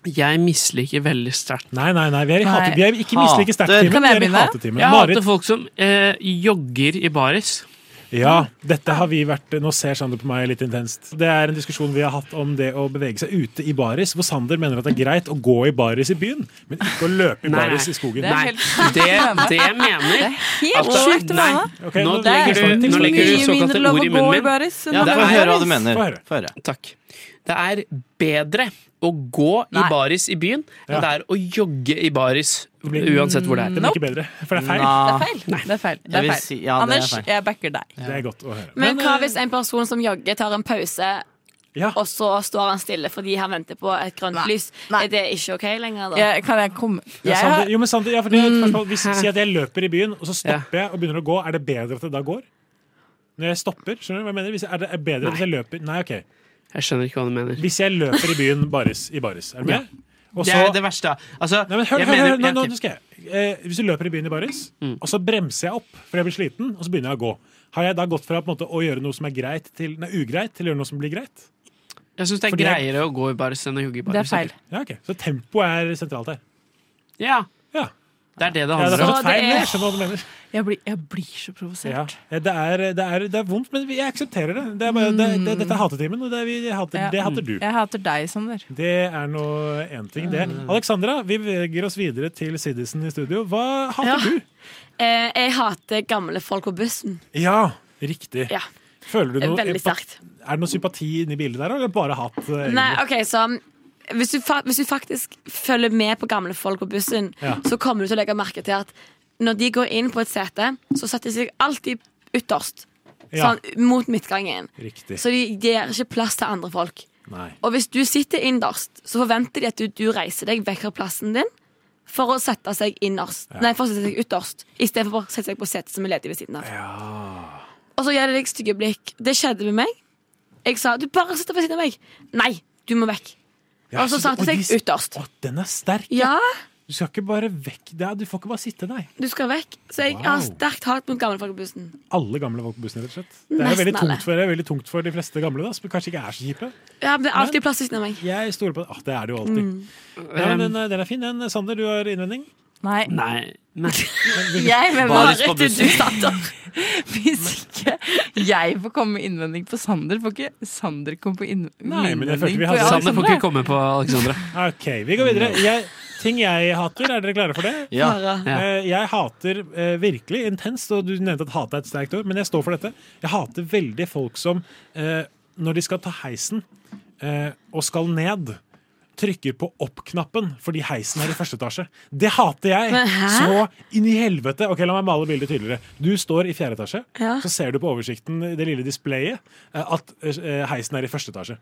Speaker 2: jeg misliker veldig sterkt
Speaker 5: Nei, nei, nei. Vi er, i hate, vi er ikke
Speaker 2: Hater.
Speaker 5: mislike sterkt-timen. Vi er i hatetimen.
Speaker 2: Jeg hater
Speaker 5: Marit,
Speaker 2: folk som eh, jogger i baris.
Speaker 5: ja, dette har vi vært Nå ser Sander på meg litt intenst. Det er en diskusjon vi har hatt om det å bevege seg ute i baris, hvor Sander mener at det er greit å gå i baris i byen, men ikke å løpe i
Speaker 2: Nei,
Speaker 5: baris
Speaker 2: nei.
Speaker 5: i skogen.
Speaker 2: Det er Nei, helt sjukt det- å mene. det mener- Det er helt Altså, sjukt å nei. mene.
Speaker 5: Ok,
Speaker 2: Nå legger du-
Speaker 5: tekst-
Speaker 2: nå legger du
Speaker 5: tekst-
Speaker 2: såkalte Mye mindre ord i lov å munnen gå i min. baris enn Ja, å det gå i er- hør hva du baris. mener.
Speaker 5: Få høre.
Speaker 2: Takk. Det er bedre å gå i
Speaker 5: Nei.
Speaker 2: baris i byen enn
Speaker 5: Ja.
Speaker 2: det er å jogge i baris uansett hvor det er.
Speaker 5: Det blir Mm. ikke bedre, for det er feil.
Speaker 6: Nei.
Speaker 13: feil. Det er feil. Det
Speaker 6: Jeg
Speaker 13: er
Speaker 6: vil
Speaker 13: feil.
Speaker 6: si- ja, det er
Speaker 13: Anders,
Speaker 6: feil.
Speaker 13: jeg backer deg.
Speaker 5: Det er godt å høre.
Speaker 13: Men hva hvis en person som jogger, tar en pause,
Speaker 5: Ja.
Speaker 13: og så står han stille fordi han venter på et grønt lys? Er det ikke OK lenger, da?
Speaker 5: Ja,
Speaker 13: kan jeg komme
Speaker 5: Ja, Sander, jo, men Sander, ja, for det er
Speaker 2: Mm.
Speaker 5: et spørsmål. Hvis jeg sier at jeg løper i byen, og så stopper jeg og begynner å gå, er det bedre at det da går? Når jeg stopper, skjønner du hva jeg mener? Hvis jeg, er det er bedre hvis jeg løper Nei, ok.
Speaker 2: Jeg skjønner ikke hva du mener.
Speaker 5: Hvis jeg løper i byen baris, i baris, er du
Speaker 2: Ja.
Speaker 5: med? Og
Speaker 2: Det
Speaker 5: så-
Speaker 2: er det verste. Altså,
Speaker 5: Nei, men hør,
Speaker 2: jeg Mm.
Speaker 5: hør,
Speaker 2: mener-
Speaker 5: hør, nå,
Speaker 2: ja,
Speaker 5: nå,
Speaker 2: ok.
Speaker 5: nå skal jeg. Eh, hvis du løper i byen i baris, og så bremser jeg opp fordi jeg blir sliten, og så begynner jeg å gå. Har jeg da gått fra på en måte, å gjøre noe som er greit til, nei, ugreit, til å gjøre noe som blir greit?
Speaker 2: Jeg syns det er
Speaker 5: Fordi jeg-
Speaker 2: greiere å gå i baris enn å jogge i baris.
Speaker 5: Ja, ok. Så tempoet er sentralt her.
Speaker 2: Ja.
Speaker 5: Ja.
Speaker 2: Det er det det
Speaker 5: Ja, det
Speaker 2: handler
Speaker 5: er
Speaker 2: om.
Speaker 5: fortsatt feil, men jeg skjønner hva du mener.
Speaker 13: Jeg blir, jeg blir så provosert.
Speaker 5: Ja. Eh, Det, er, det, er, det er vondt, men jeg aksepterer det. det, er bare, det, det dette er hatetimen, og det, er vi, jeg hater,
Speaker 13: Ja.
Speaker 5: det hater du.
Speaker 13: Jeg hater deg, Sander.
Speaker 5: Det er nå én ting, det.
Speaker 13: Mm.
Speaker 5: Alexandra, vi beveger oss videre til Siddisen i studio. Hva hater du?
Speaker 13: Eh, jeg hater gamle folk på bussen.
Speaker 5: Ja, riktig.
Speaker 13: Ja.
Speaker 5: Føler du noe
Speaker 13: Veldig
Speaker 5: empa-
Speaker 13: sterkt.
Speaker 5: Er det noe sympati inni bildet der, eller bare hat? eh, egentlig?
Speaker 13: Nei, ok, så hvis du, fa- hvis du faktisk følger med på gamle folk på bussen,
Speaker 5: Ja.
Speaker 13: så kommer du til å legge merke til at når de går inn på et sete, så setter de seg alltid ytterst.
Speaker 5: Ja.
Speaker 13: Sånn, mot midtgangen.
Speaker 5: Riktig.
Speaker 13: Så de gir ikke plass til andre folk.
Speaker 5: Nei.
Speaker 13: Og hvis du sitter innerst, så forventer de at du, du reiser deg vekk fra plassen din for å sette seg innerst. Nei, for å sette seg ytterst, istedenfor å sette seg på setet som er ledig ved siden av. Og så gjør de deg stygge blikk. Det skjedde med meg. Jeg sa 'du bare sitter ved siden av meg'. Nei, du må vekk.
Speaker 5: Ja,
Speaker 13: og så satte
Speaker 5: de
Speaker 13: jeg
Speaker 5: s-
Speaker 13: seg ytterst.
Speaker 5: Å, den er sterk.
Speaker 13: Ja,
Speaker 5: Du skal ikke bare vekk. Det er- Du får ikke bare sitte, nei.
Speaker 13: du skal vekk. Så jeg
Speaker 5: Wow.
Speaker 13: har sterkt hat mot gamle folk på bussen.
Speaker 5: Alle gamle folk på bussen, rett og slett. Det er jo
Speaker 13: Nesten
Speaker 5: veldig
Speaker 13: alle.
Speaker 5: tungt for, det er veldig tungt for de fleste gamle, da, som kanskje ikke er så kjipe.
Speaker 13: Ja, men det er alltid plass ved siden av meg.
Speaker 5: Jeg stoler på ah, Det er det jo alltid.
Speaker 13: Mm.
Speaker 5: Ja, men den,
Speaker 13: Um.
Speaker 5: er- den er fin, den. Sander, du har innvending?
Speaker 13: Nei.
Speaker 2: Nei.
Speaker 13: Jeg
Speaker 5: med
Speaker 13: Baris
Speaker 5: Marit, på bussen. du
Speaker 13: Hvis
Speaker 14: ikke jeg får komme med innvending på Sander, får ikke Sander komme på inn-
Speaker 5: Nei, men jeg
Speaker 14: innvending
Speaker 5: følte vi
Speaker 14: på
Speaker 5: hadde-
Speaker 14: Alexander.
Speaker 2: Sander får ikke komme på Alexandra.
Speaker 5: OK, vi går videre. Jeg, ting jeg hater, er dere klare for det?
Speaker 2: Ja. Ja.
Speaker 5: Eh, Jeg hater eh, virkelig intenst, og du nevnte at hat er et sterkt ord, men jeg står for dette. Jeg hater veldig folk som, eh, når de skal ta heisen eh, og skal ned, trykker på opp-knappen fordi heisen er i første etasje. Det hater jeg!
Speaker 12: Men hæ?
Speaker 5: Så inn i helvete. Ok, La meg male bildet tydeligere. Du står i fjerde etasje,
Speaker 12: Ja.
Speaker 5: så ser du på oversikten, det lille displayet, eh, at eh, heisen er i første etasje.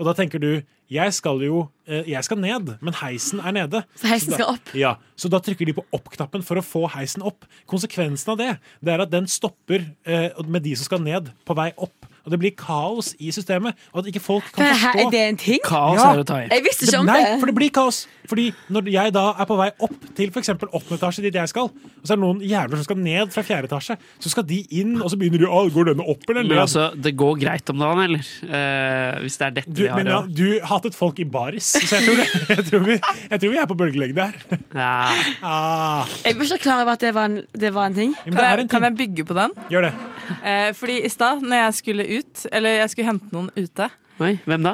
Speaker 5: Og da tenker du jeg skal jo eh, jeg skal ned, men heisen er nede.
Speaker 13: Så heisen
Speaker 5: da,
Speaker 13: skal opp.
Speaker 5: Ja, Så da trykker de på opp-knappen for å få heisen opp. Konsekvensen av det det er at den stopper eh, med de som skal ned, på vei opp. Og det blir kaos i systemet. Og at ikke folk kan
Speaker 13: Men her-
Speaker 5: forstå
Speaker 13: er det en ting? Kaos er å ta i. Jeg visste ikke om
Speaker 5: nei,
Speaker 13: det.
Speaker 5: for det blir kaos. Fordi når jeg da er på vei opp til f.eks. åttende etasje, dit jeg skal, og så er det noen jævler som skal ned fra fjerde etasje, så skal de inn, og så begynner de å Går denne opp eller
Speaker 2: Men
Speaker 5: ned?
Speaker 2: altså, det går greit om dagen, eller? Eh, hvis det er dette
Speaker 5: Du,
Speaker 2: vi har.
Speaker 5: men ja,
Speaker 2: å-
Speaker 5: du hatet folk i baris, så jeg tror, det, jeg tror, vi, jeg tror vi er på bølgelengde her. Ah,
Speaker 13: Jeg var ikke klar over at det var en, det var en ting.
Speaker 14: Kan jeg, kan jeg bygge på den?
Speaker 5: gjør det.
Speaker 14: Eh, fordi i stad, når jeg skulle ut, eller jeg skulle hente noen ute
Speaker 2: Oi, hvem da?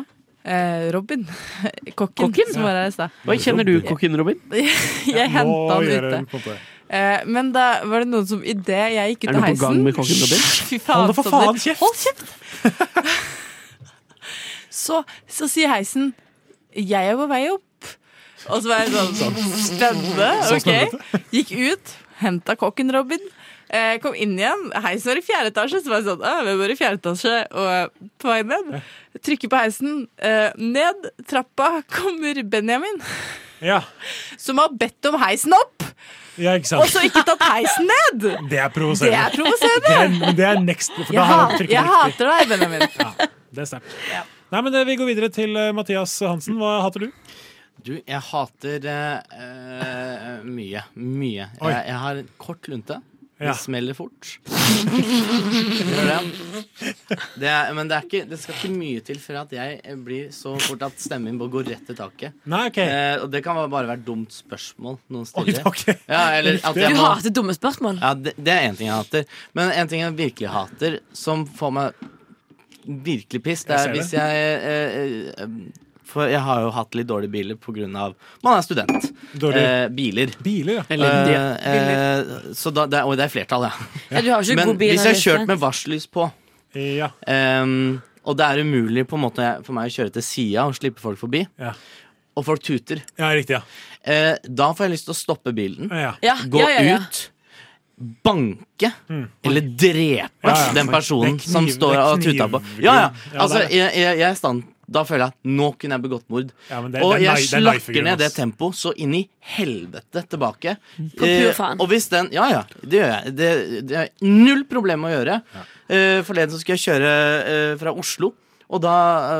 Speaker 14: eh, Robin. Kokken,
Speaker 2: Kokken?
Speaker 14: som var her i stad.
Speaker 2: Oi, kjenner du kokken, Robin?
Speaker 14: Jeg henta han ute. Eh, men da var det noen som idet jeg gikk ut
Speaker 2: Er du
Speaker 14: av
Speaker 2: på
Speaker 14: heisen
Speaker 2: gang med kokken, Robin?
Speaker 14: Fy faen,
Speaker 2: Hold da for
Speaker 14: Sander.
Speaker 2: faen kjeft!
Speaker 14: Hold kjeft! så, så sier heisen 'Jeg er på vei opp'. Og så var jeg sånn
Speaker 12: Sånn
Speaker 14: Spennende.
Speaker 12: stemmer
Speaker 14: Ok. Gikk ut, henta kokken, Robin. Eh, kom inn igjen. Heisen var i fjerde etasje, så var jeg sånn «Å, Vi bor i fjerde etasje, og på vei ned. Trykker på heisen. Eh, ned trappa kommer Benjamin,
Speaker 5: Ja,
Speaker 14: som har bedt om heisen opp!
Speaker 5: ja ikke sant.
Speaker 14: Og så ikke tatt heisen ned!
Speaker 5: Det er provoserende.
Speaker 14: Det er provoserende.
Speaker 5: Det er- Men det er next. For da
Speaker 14: Jeg,
Speaker 5: har
Speaker 14: hat,
Speaker 5: jeg trykket
Speaker 14: jeg
Speaker 5: riktig.
Speaker 14: hater deg, Benjamin.
Speaker 5: Det er sterkt. Nei, men eh, Vi går videre til eh, Mathias Hansen. Hva hater du?
Speaker 6: Du, jeg hater eh, eh, mye. Mye.
Speaker 5: Oi.
Speaker 6: Jeg, jeg har en kort lunte.
Speaker 5: Ja.
Speaker 6: Det smeller fort. Gjør det. Det er, men det, er ikke, det skal ikke mye til for at jeg eh, blir så fort at stemmen min bare går rett i taket.
Speaker 5: Nei, ok.
Speaker 6: Eh, og det kan bare være et dumt spørsmål noen stiller. Ja, eller at jeg
Speaker 13: Du
Speaker 6: må-
Speaker 13: hater dumme spørsmål.
Speaker 6: ja, det, det er én ting jeg hater. Men en ting jeg virkelig hater, som får meg virkelig piss, det
Speaker 10: Jeg
Speaker 6: er
Speaker 10: ser det.
Speaker 6: hvis jeg eh, eh, For jeg har jo hatt litt dårlige biler på grunn av Man er student.
Speaker 5: Dårlig-
Speaker 6: Eh, biler.
Speaker 5: Biler, ja.
Speaker 10: Elendige
Speaker 6: Eh, eh, så da, det, er- og det er flertall, ja.
Speaker 13: Ja, du har jo ikke
Speaker 6: Men
Speaker 13: god bil
Speaker 6: hvis jeg har
Speaker 13: når du er
Speaker 6: kjørt med varsellys på ehm, og det er umulig på en måte for meg å kjøre til sida og slippe folk forbi. Og folk tuter. Eh, da får jeg lyst til å stoppe bilen,
Speaker 5: Ja.
Speaker 13: Ja,
Speaker 6: gå
Speaker 13: ja, ja, ja.
Speaker 6: ut, banke eller drepe
Speaker 10: Mm. Ja, ja.
Speaker 6: den personen
Speaker 10: Det er kniv-
Speaker 6: som står
Speaker 10: det er
Speaker 6: og tuter på.
Speaker 10: knivgrunn.
Speaker 6: Ja, ja.
Speaker 10: Ja,
Speaker 6: Altså,
Speaker 10: det er det.
Speaker 6: jeg, jeg, jeg er i stand Da føler jeg at nå kunne jeg begått mord.
Speaker 5: Ja, men det-
Speaker 6: og
Speaker 5: det er
Speaker 6: jeg
Speaker 5: nei- det er
Speaker 6: slakker
Speaker 5: knivgrunn,
Speaker 6: ned det
Speaker 5: ass.
Speaker 6: tempoet så inn i helvete tilbake. Eh,
Speaker 13: På pur faen.
Speaker 6: og hvis den Ja, ja, det gjør jeg. Det, det er null problem å gjøre. Eh, forleden så skulle jeg kjøre eh, fra Oslo. Og da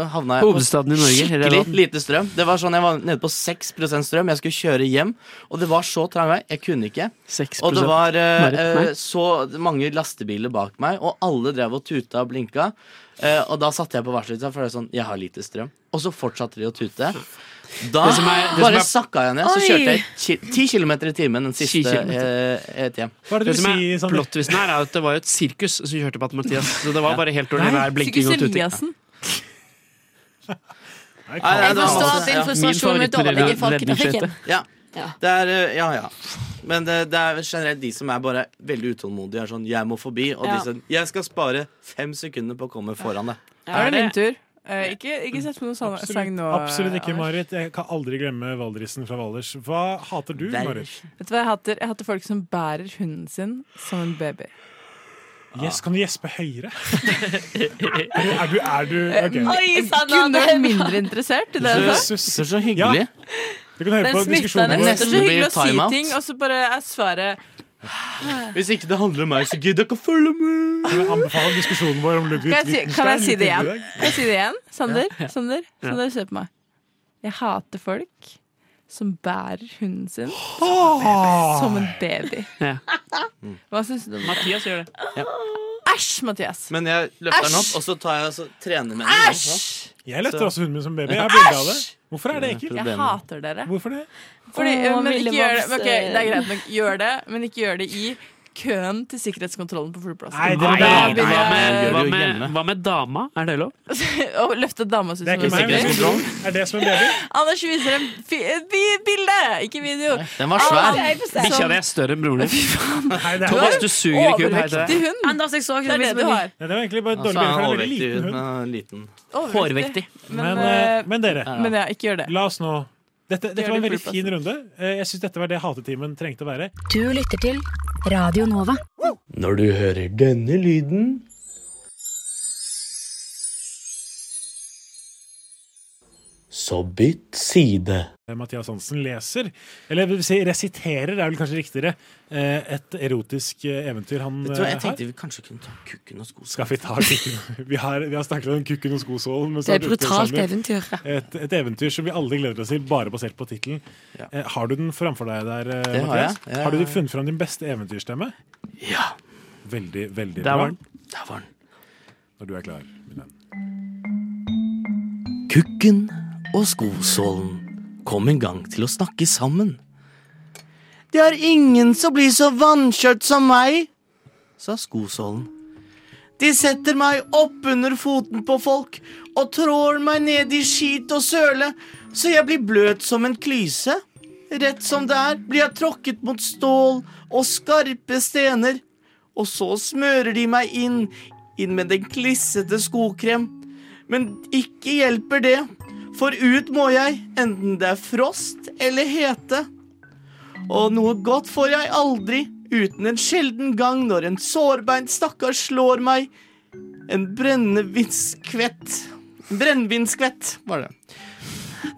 Speaker 6: eh, havna jeg
Speaker 2: Hovedstaden i Norge, hele
Speaker 6: skikkelig
Speaker 2: verden.
Speaker 6: lite strøm. Det var sånn Jeg var nede på 6 strøm. Jeg skulle kjøre hjem, og det var så trang vei. Jeg kunne ikke.
Speaker 2: 6%.
Speaker 6: Og det var eh,
Speaker 2: Nei, nei.
Speaker 6: eh, så mange lastebiler bak meg, og alle drev og tuta og blinka. Eh, og da satte jeg på varselet, for det er sånn Jeg har lite strøm. Og så fortsatte de å tute. Da
Speaker 2: Det som er- det som
Speaker 6: bare
Speaker 2: er-
Speaker 6: sakka jeg ned, så
Speaker 2: Oi.
Speaker 6: kjørte jeg ki- 10 km i timen den
Speaker 2: Ti
Speaker 6: siste
Speaker 2: kilometer.
Speaker 6: eh, et hjem.
Speaker 2: det som er plottvisen her, er at det var jo et sirkus som kjørte på at Mathias. Så det var bare helt
Speaker 6: Nei,
Speaker 2: ordinær blinking
Speaker 6: sirkus
Speaker 2: og tuting.
Speaker 6: Eliassen.
Speaker 2: Nei,
Speaker 13: Jeg
Speaker 6: det var
Speaker 13: forstår
Speaker 6: masse-
Speaker 13: din
Speaker 6: ja.
Speaker 13: frustrasjon
Speaker 6: Min
Speaker 13: med dårlige
Speaker 6: favorittmodell er
Speaker 13: folk i trafikken.
Speaker 6: ledningsskøyte. Ja. Det er, eh, ja, ja. Men det, det er generelt de som er bare veldig utålmodige. Er sånn 'jeg må forbi', og
Speaker 14: Ja.
Speaker 6: de som 'jeg skal spare fem sekunder på å komme foran deg'.
Speaker 14: Da er det min tur. Eh, ikke, ikke sett på noen sang, sang
Speaker 5: Absolutt,
Speaker 14: nå.
Speaker 5: absolutt ikke,
Speaker 14: Anders.
Speaker 5: Marit. Jeg kan aldri glemme Valdrisen fra Valdres. Hva hater du, Marit?
Speaker 14: Vet du hva jeg hater? Jeg hater folk som bærer hunden sin som en baby.
Speaker 2: Ah.
Speaker 5: Yes, kan du gjespe høyere? er du, er du ok.
Speaker 14: Jeg Eh, Kunne vært mindre interessert i det. jeg sa.
Speaker 6: Det er så hyggelig.
Speaker 5: Du kan høre
Speaker 14: Den
Speaker 5: på
Speaker 14: smitta
Speaker 5: diskusjonen
Speaker 14: den. Det er
Speaker 6: Neste
Speaker 14: så hyggelig
Speaker 6: blir
Speaker 14: å si
Speaker 6: timeout.
Speaker 14: ting, og så bare er svaret
Speaker 6: Hvis ikke det handler om meg, så gidder jeg ikke å følge med.
Speaker 5: Jeg anbefaler diskusjonen vår om Ludvig
Speaker 14: Kan jeg si, kan jeg si det igjen?
Speaker 5: Wittgenstein.
Speaker 14: Kan jeg si det igjen? Sander,
Speaker 5: Ja.
Speaker 14: Sander,
Speaker 5: Ja.
Speaker 14: Sander se på meg. Jeg hater folk som bærer hunden sin
Speaker 6: Ah.
Speaker 14: som en baby.
Speaker 2: Ja.
Speaker 14: Hva syns du om det?
Speaker 2: Mathias gjør det.
Speaker 14: Æsj, Mathias!
Speaker 6: Men jeg løfter den opp,
Speaker 14: Æsj!
Speaker 6: og så tar jeg og så trener med den.
Speaker 5: Jeg løfter
Speaker 6: Så-
Speaker 5: også hunden min som baby. Jeg har bilde av det. Hvorfor er det ekkelt?
Speaker 14: Jeg hater dere.
Speaker 5: Hvorfor det?
Speaker 14: Fordi,
Speaker 13: Åh,
Speaker 14: men
Speaker 13: Ville
Speaker 14: ikke gjør det.
Speaker 13: Vops,
Speaker 14: ok, det er
Speaker 13: eh.
Speaker 14: greit nok. Gjør det, men ikke gjør det i køen til sikkerhetskontrollen på flyplassen.
Speaker 2: Nei,
Speaker 14: Da
Speaker 2: hva,
Speaker 14: blir
Speaker 2: med,
Speaker 14: jeg-
Speaker 2: hva,
Speaker 6: gjør det jo
Speaker 2: med,
Speaker 6: hjemme.
Speaker 2: hva med dama? Er det lov?
Speaker 14: Å løfte dama sin
Speaker 2: Det er
Speaker 14: som
Speaker 2: ikke meg,
Speaker 14: en
Speaker 2: det
Speaker 14: baby.
Speaker 2: er kontroll.
Speaker 5: Er det som en baby?
Speaker 14: Anders viser en fi bi- bilde, ikke video.
Speaker 2: Den var
Speaker 6: Ah.
Speaker 2: svær.
Speaker 14: Som-
Speaker 2: Bikkja di er større enn broren din.
Speaker 5: det er-
Speaker 2: Thomas, du suger ikke ut. Hei til
Speaker 14: Overvektig
Speaker 2: deg.
Speaker 14: hund.
Speaker 13: Anders, jeg så ikke
Speaker 14: Det er
Speaker 13: noe
Speaker 14: det
Speaker 13: som
Speaker 14: du
Speaker 13: en ny-
Speaker 14: har.
Speaker 5: Nei, det var egentlig bare et
Speaker 6: Altså,
Speaker 5: dårlig bilde.
Speaker 6: han
Speaker 5: for
Speaker 6: er
Speaker 5: det er en veldig
Speaker 6: overvektig
Speaker 5: liten
Speaker 6: ut,
Speaker 5: hund.
Speaker 6: men han er liten.
Speaker 2: Hårvektig.
Speaker 5: Men,
Speaker 14: eh,
Speaker 5: eh, men dere,
Speaker 14: Men ja, ikke gjør det.
Speaker 5: la oss nå dette, dette
Speaker 14: Gjør
Speaker 5: var en
Speaker 14: det altså.
Speaker 5: veldig
Speaker 14: på
Speaker 5: fin runde. Eh, Jeg syns dette var det hatetimen trengte å være.
Speaker 15: Du lytter til Radio Nova.
Speaker 6: Når du hører denne lyden Så bytt side.
Speaker 5: Eh, Mathias Hansen leser, eller det vil si resiterer, er vel kanskje riktigere, eh, et erotisk eh, eventyr han
Speaker 6: Vet du hva,
Speaker 5: eh,
Speaker 6: Jeg
Speaker 5: har.
Speaker 6: tenkte vi kanskje kunne ta kukken og skosålen.
Speaker 5: Skal vi ta kukken? Vi har, vi har snakket om kukken og skosålen. men så
Speaker 13: Det er
Speaker 5: har
Speaker 13: et
Speaker 5: vi ikke
Speaker 13: brutalt
Speaker 5: sammen.
Speaker 13: eventyr, ja.
Speaker 5: Et, et eventyr som vi alle gleder oss til, bare basert på tittelen. Eh, Har du den framfor deg der, eh,
Speaker 6: Det har
Speaker 5: Mathias?
Speaker 6: jeg. Ja,
Speaker 5: Har du
Speaker 6: ja, ja.
Speaker 5: funnet fram din beste eventyrstemme?
Speaker 6: Ja.
Speaker 5: Veldig, veldig
Speaker 6: Der
Speaker 5: bra.
Speaker 6: var den. Der var den.
Speaker 5: Når du er klar, min venn.
Speaker 6: Kukken og skosålen kom en gang til å snakke sammen. Det er ingen som blir så vannkjørt som meg, sa skosålen. De setter meg oppunder foten på folk og trår meg ned i skit og søle, så jeg blir bløt som en klyse. Rett som det er, blir jeg tråkket mot stål og skarpe stener. Og så smører de meg inn, inn med den klissete skokrem. Men ikke hjelper det, for ut må jeg, enten det er frost eller hete. Og noe godt får jeg aldri, uten en sjelden gang når en sårbeint stakkar slår meg. En brennevinskvett. Brennevinskvett, var det.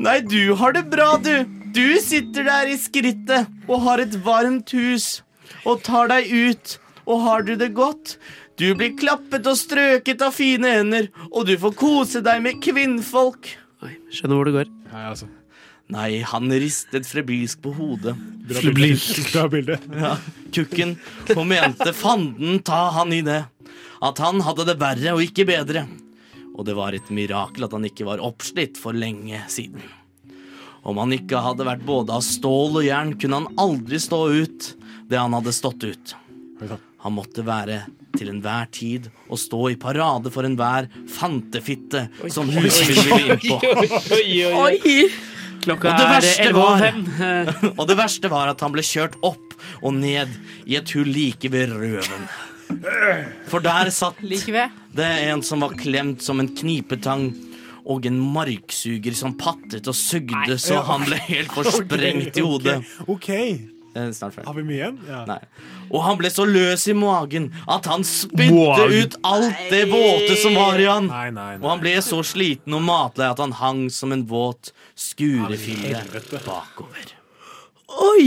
Speaker 6: Nei, du har det bra, du. Du sitter der i skrittet og har et varmt hus og tar deg ut, og har du det godt? Du blir klappet og strøket av fine hender, og du får kose deg med kvinnfolk.
Speaker 2: Skjønner hvor det går.
Speaker 6: Nei, han ristet frebilsk på hodet.
Speaker 2: Bra bilde. Frebilsk.
Speaker 5: Bra bilde.
Speaker 6: Ja, kukken, og mente fanden ta han i det. At han hadde det verre og ikke bedre. Og det var et mirakel at han ikke var oppslitt for lenge siden. Om han ikke hadde vært både av stål og jern, kunne han aldri stå ut det han hadde stått ut. Han måtte være til enhver tid og stå i parade for enhver fantefitte som husvill ville inn på.
Speaker 2: Klokka
Speaker 6: Og det
Speaker 2: er
Speaker 6: verste
Speaker 2: 11.05.
Speaker 6: Og det verste var at han ble kjørt opp og ned i et hull like ved røven. For der satt det en som var klemt som en knipetang, og en marksuger som pattet og sugde så han ble helt forsprengt i hodet.
Speaker 5: Ok,
Speaker 6: Eh, Snart ferdig.
Speaker 5: Har vi mye igjen? Ja.
Speaker 6: Nei. Og han ble så løs i magen at han spytte
Speaker 5: Magen.
Speaker 6: ut alt det våte som var i han.
Speaker 5: Nei, nei,
Speaker 6: Og han ble så sliten og matlei at han hang som en våt skurefille
Speaker 5: Helvete.
Speaker 6: bakover.
Speaker 14: Oi!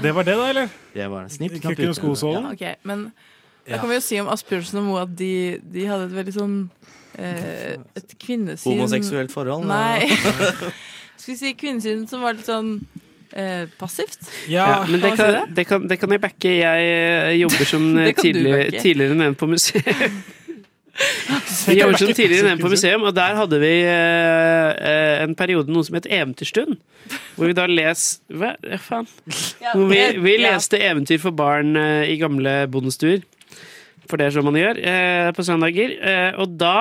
Speaker 5: Det var det, da, eller?
Speaker 6: Det var en snipp.
Speaker 5: Kukken og skosålen?
Speaker 14: Ok, men
Speaker 5: Ja.
Speaker 14: da kan vi jo si om Asbjørnsen og Moe at de, de hadde et veldig sånn eh, Et kvinnesyn
Speaker 6: Homoseksuelt forhold?
Speaker 14: Nei. Skal vi si kvinnesyn som var litt sånn eh, passivt?
Speaker 5: Eh,
Speaker 2: Ja, altså, men det
Speaker 14: man si
Speaker 2: kan, det, kan, det kan jeg backe. Jeg eh, jobber som eh,
Speaker 14: Det kan du
Speaker 2: tidlig,
Speaker 14: backe.
Speaker 2: tidligere nevnt på museum. Jeg jobber som tidligere nevnt på museum, og der hadde vi eh, eh, en periode noe som het Eventyrstund. Hvor vi da les Hva ja, faen? Hvor vi, vi leste eventyr for barn eh, i gamle bondestuer. For det er sånn man gjør eh, på søndager. Eh, og da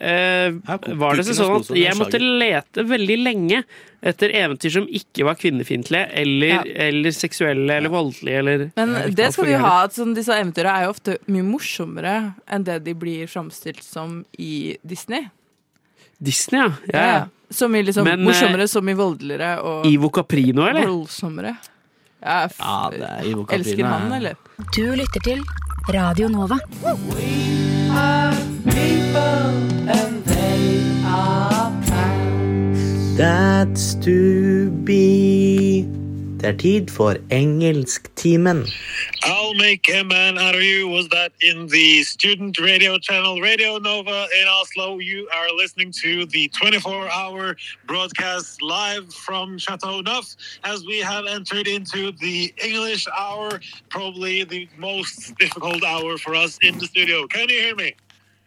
Speaker 2: eh, var det
Speaker 6: kukken
Speaker 2: sånn
Speaker 6: og
Speaker 2: at
Speaker 6: skosen, det er
Speaker 2: jeg måtte lete veldig lenge etter eventyr som ikke var kvinnefiendtlige eller, eller seksuelle eller voldelige eller
Speaker 14: Men
Speaker 2: Ja,
Speaker 14: det skal vi jo
Speaker 2: altfor
Speaker 14: ha,
Speaker 2: gærent.
Speaker 14: at sånn, disse eventyrene er jo ofte mye morsommere enn det de blir framstilt som i Disney.
Speaker 2: Disney, ja. ja.
Speaker 14: Ja, Som i liksom
Speaker 2: Men, eh,
Speaker 14: morsommere, som i voldeligere og
Speaker 2: Ivo Caprino, eller?
Speaker 14: voldsommere. Ja, f
Speaker 2: det
Speaker 6: er Ivo
Speaker 14: elsker mannen, eller?
Speaker 11: Du lytter til Radio Nova.
Speaker 6: That's to be Det er tid for engelsktimen.
Speaker 16: I'll make a man out of you was that in the student radio channel Radio Nova in Oslo. You are listening to the 24 hour broadcast live from Chateau Neuf as we have entered into the English hour, probably the most difficult hour for us in the studio. Can you hear me?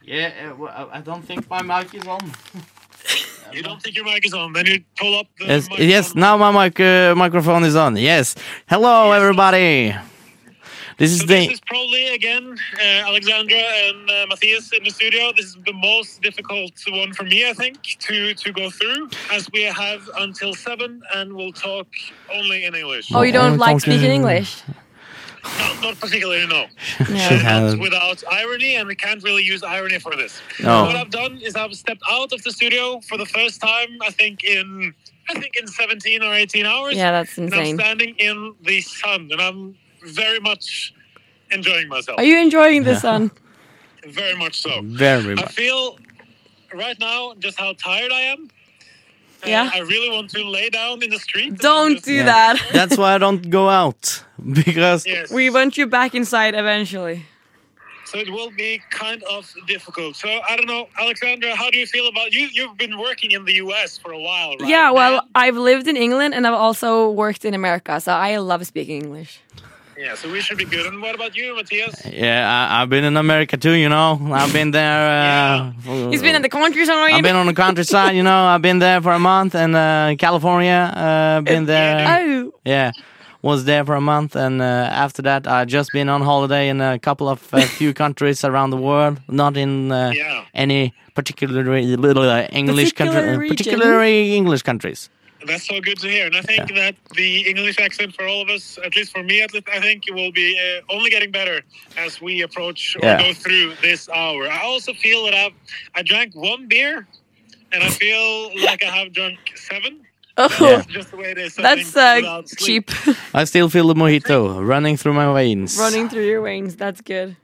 Speaker 17: Yeah, uh, well, I don't think my mic is on.
Speaker 16: You don't think your mic is on, then you pull up the
Speaker 17: Yes, yes now my mic, uh, microphone is on. Yes. Hello, everybody. This is
Speaker 16: So
Speaker 17: the.
Speaker 16: this is probably again uh, Alexandra and uh, Matthias in the studio. This is the most difficult one for me, I think, to to go through, as we have until seven, and we'll talk only in English.
Speaker 13: Oh, you don't like speaking English?
Speaker 16: No, not particularly, no.
Speaker 17: Should have-
Speaker 6: Uh.
Speaker 16: Not without irony, and we can't really use irony for this.
Speaker 6: Oh.
Speaker 17: No.
Speaker 16: What I've done is I've stepped out of the studio for the first time, I think in I think in 17 or 18 hours.
Speaker 13: Yeah, that's
Speaker 16: And
Speaker 13: insane.
Speaker 16: I'm standing in the sun, and I'm very much enjoying myself.
Speaker 13: Are you enjoying the sun?
Speaker 16: Very much so.
Speaker 17: Very
Speaker 16: I
Speaker 17: much.
Speaker 16: feel right now just how tired I am. Uh,
Speaker 13: Yeah.
Speaker 16: I really want to lay down in the street.
Speaker 13: Don't do
Speaker 17: Yeah.
Speaker 13: that.
Speaker 17: That's why I don't go out. Because.
Speaker 13: We want you back inside eventually.
Speaker 16: So it will be kind of difficult. So I don't know, Alexandra, how do you feel about you? You've been working in the U.S. for a while, right?
Speaker 13: Yeah, well, I've lived in England and I've also worked in America, so I love speaking English.
Speaker 16: Yeah. So we should be good. And what about you, Matthias?
Speaker 17: Yeah, I, I've been in America too, you know. I've been there. Uh, for-
Speaker 13: He's been in the country somewhere.
Speaker 17: I've been on the countryside, you know. I've been there for a month in uh, California. Uh, been there.
Speaker 13: Oh.
Speaker 17: Yeah.
Speaker 6: was there for a month, and uh, after that, I just been on holiday in a couple of uh, few countries around the world. Not in uh, any particular little uh, English
Speaker 16: Particular
Speaker 6: country,
Speaker 16: region.
Speaker 6: particularly English countries.
Speaker 16: That's so good to hear. And I think that the English accent for all of us, at least for me, at least, I think it will be uh, only getting better as we approach or
Speaker 6: Yeah.
Speaker 16: go through this hour. I also feel that I've I drank one beer, and I feel like I have drunk seven.
Speaker 14: Oh.
Speaker 16: That's just the way it is. I
Speaker 13: That's
Speaker 16: think,
Speaker 13: uh,
Speaker 16: without sleep.
Speaker 13: cheap.
Speaker 6: I still feel the mojito running through my veins.
Speaker 13: Running through your wings. That's good.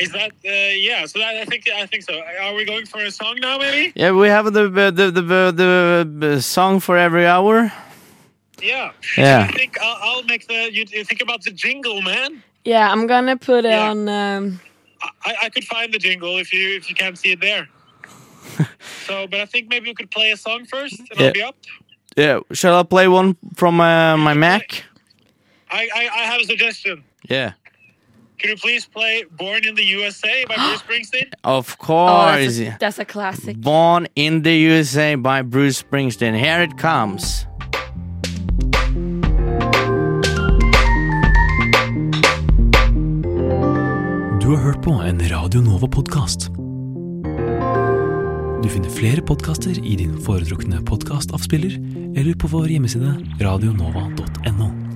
Speaker 16: Is that uh, yeah? So that, I think I think so. Are we going for a song now, maybe?
Speaker 6: Yeah, we have the the the, the, the uh, song for every hour.
Speaker 16: Yeah.
Speaker 6: Yeah.
Speaker 16: I think I'll, I'll make the. You, you think about the jingle, man.
Speaker 13: Yeah, I'm gonna put it
Speaker 16: Yeah.
Speaker 13: on. Um,
Speaker 16: I, I could find the jingle if you if you can't see it there. so, but I think maybe you could play a song first, and
Speaker 6: Yeah.
Speaker 16: I'll be up.
Speaker 6: Yeah, shall I play one from uh, my Mac?
Speaker 16: I, I I have a suggestion.
Speaker 6: Yeah,
Speaker 16: Could you please play "Born in the USA" by Bruce Springsteen?
Speaker 6: of
Speaker 13: oh,
Speaker 6: course.
Speaker 13: that's a, that's a classic.
Speaker 6: Born in the USA by Bruce Springsteen. Here it comes.
Speaker 18: Du har hørt på en Radio Nova-podkast. Du finner flere podkaster i din foretrukne podkastavspiller eller på vår hjemmeside radionova.no.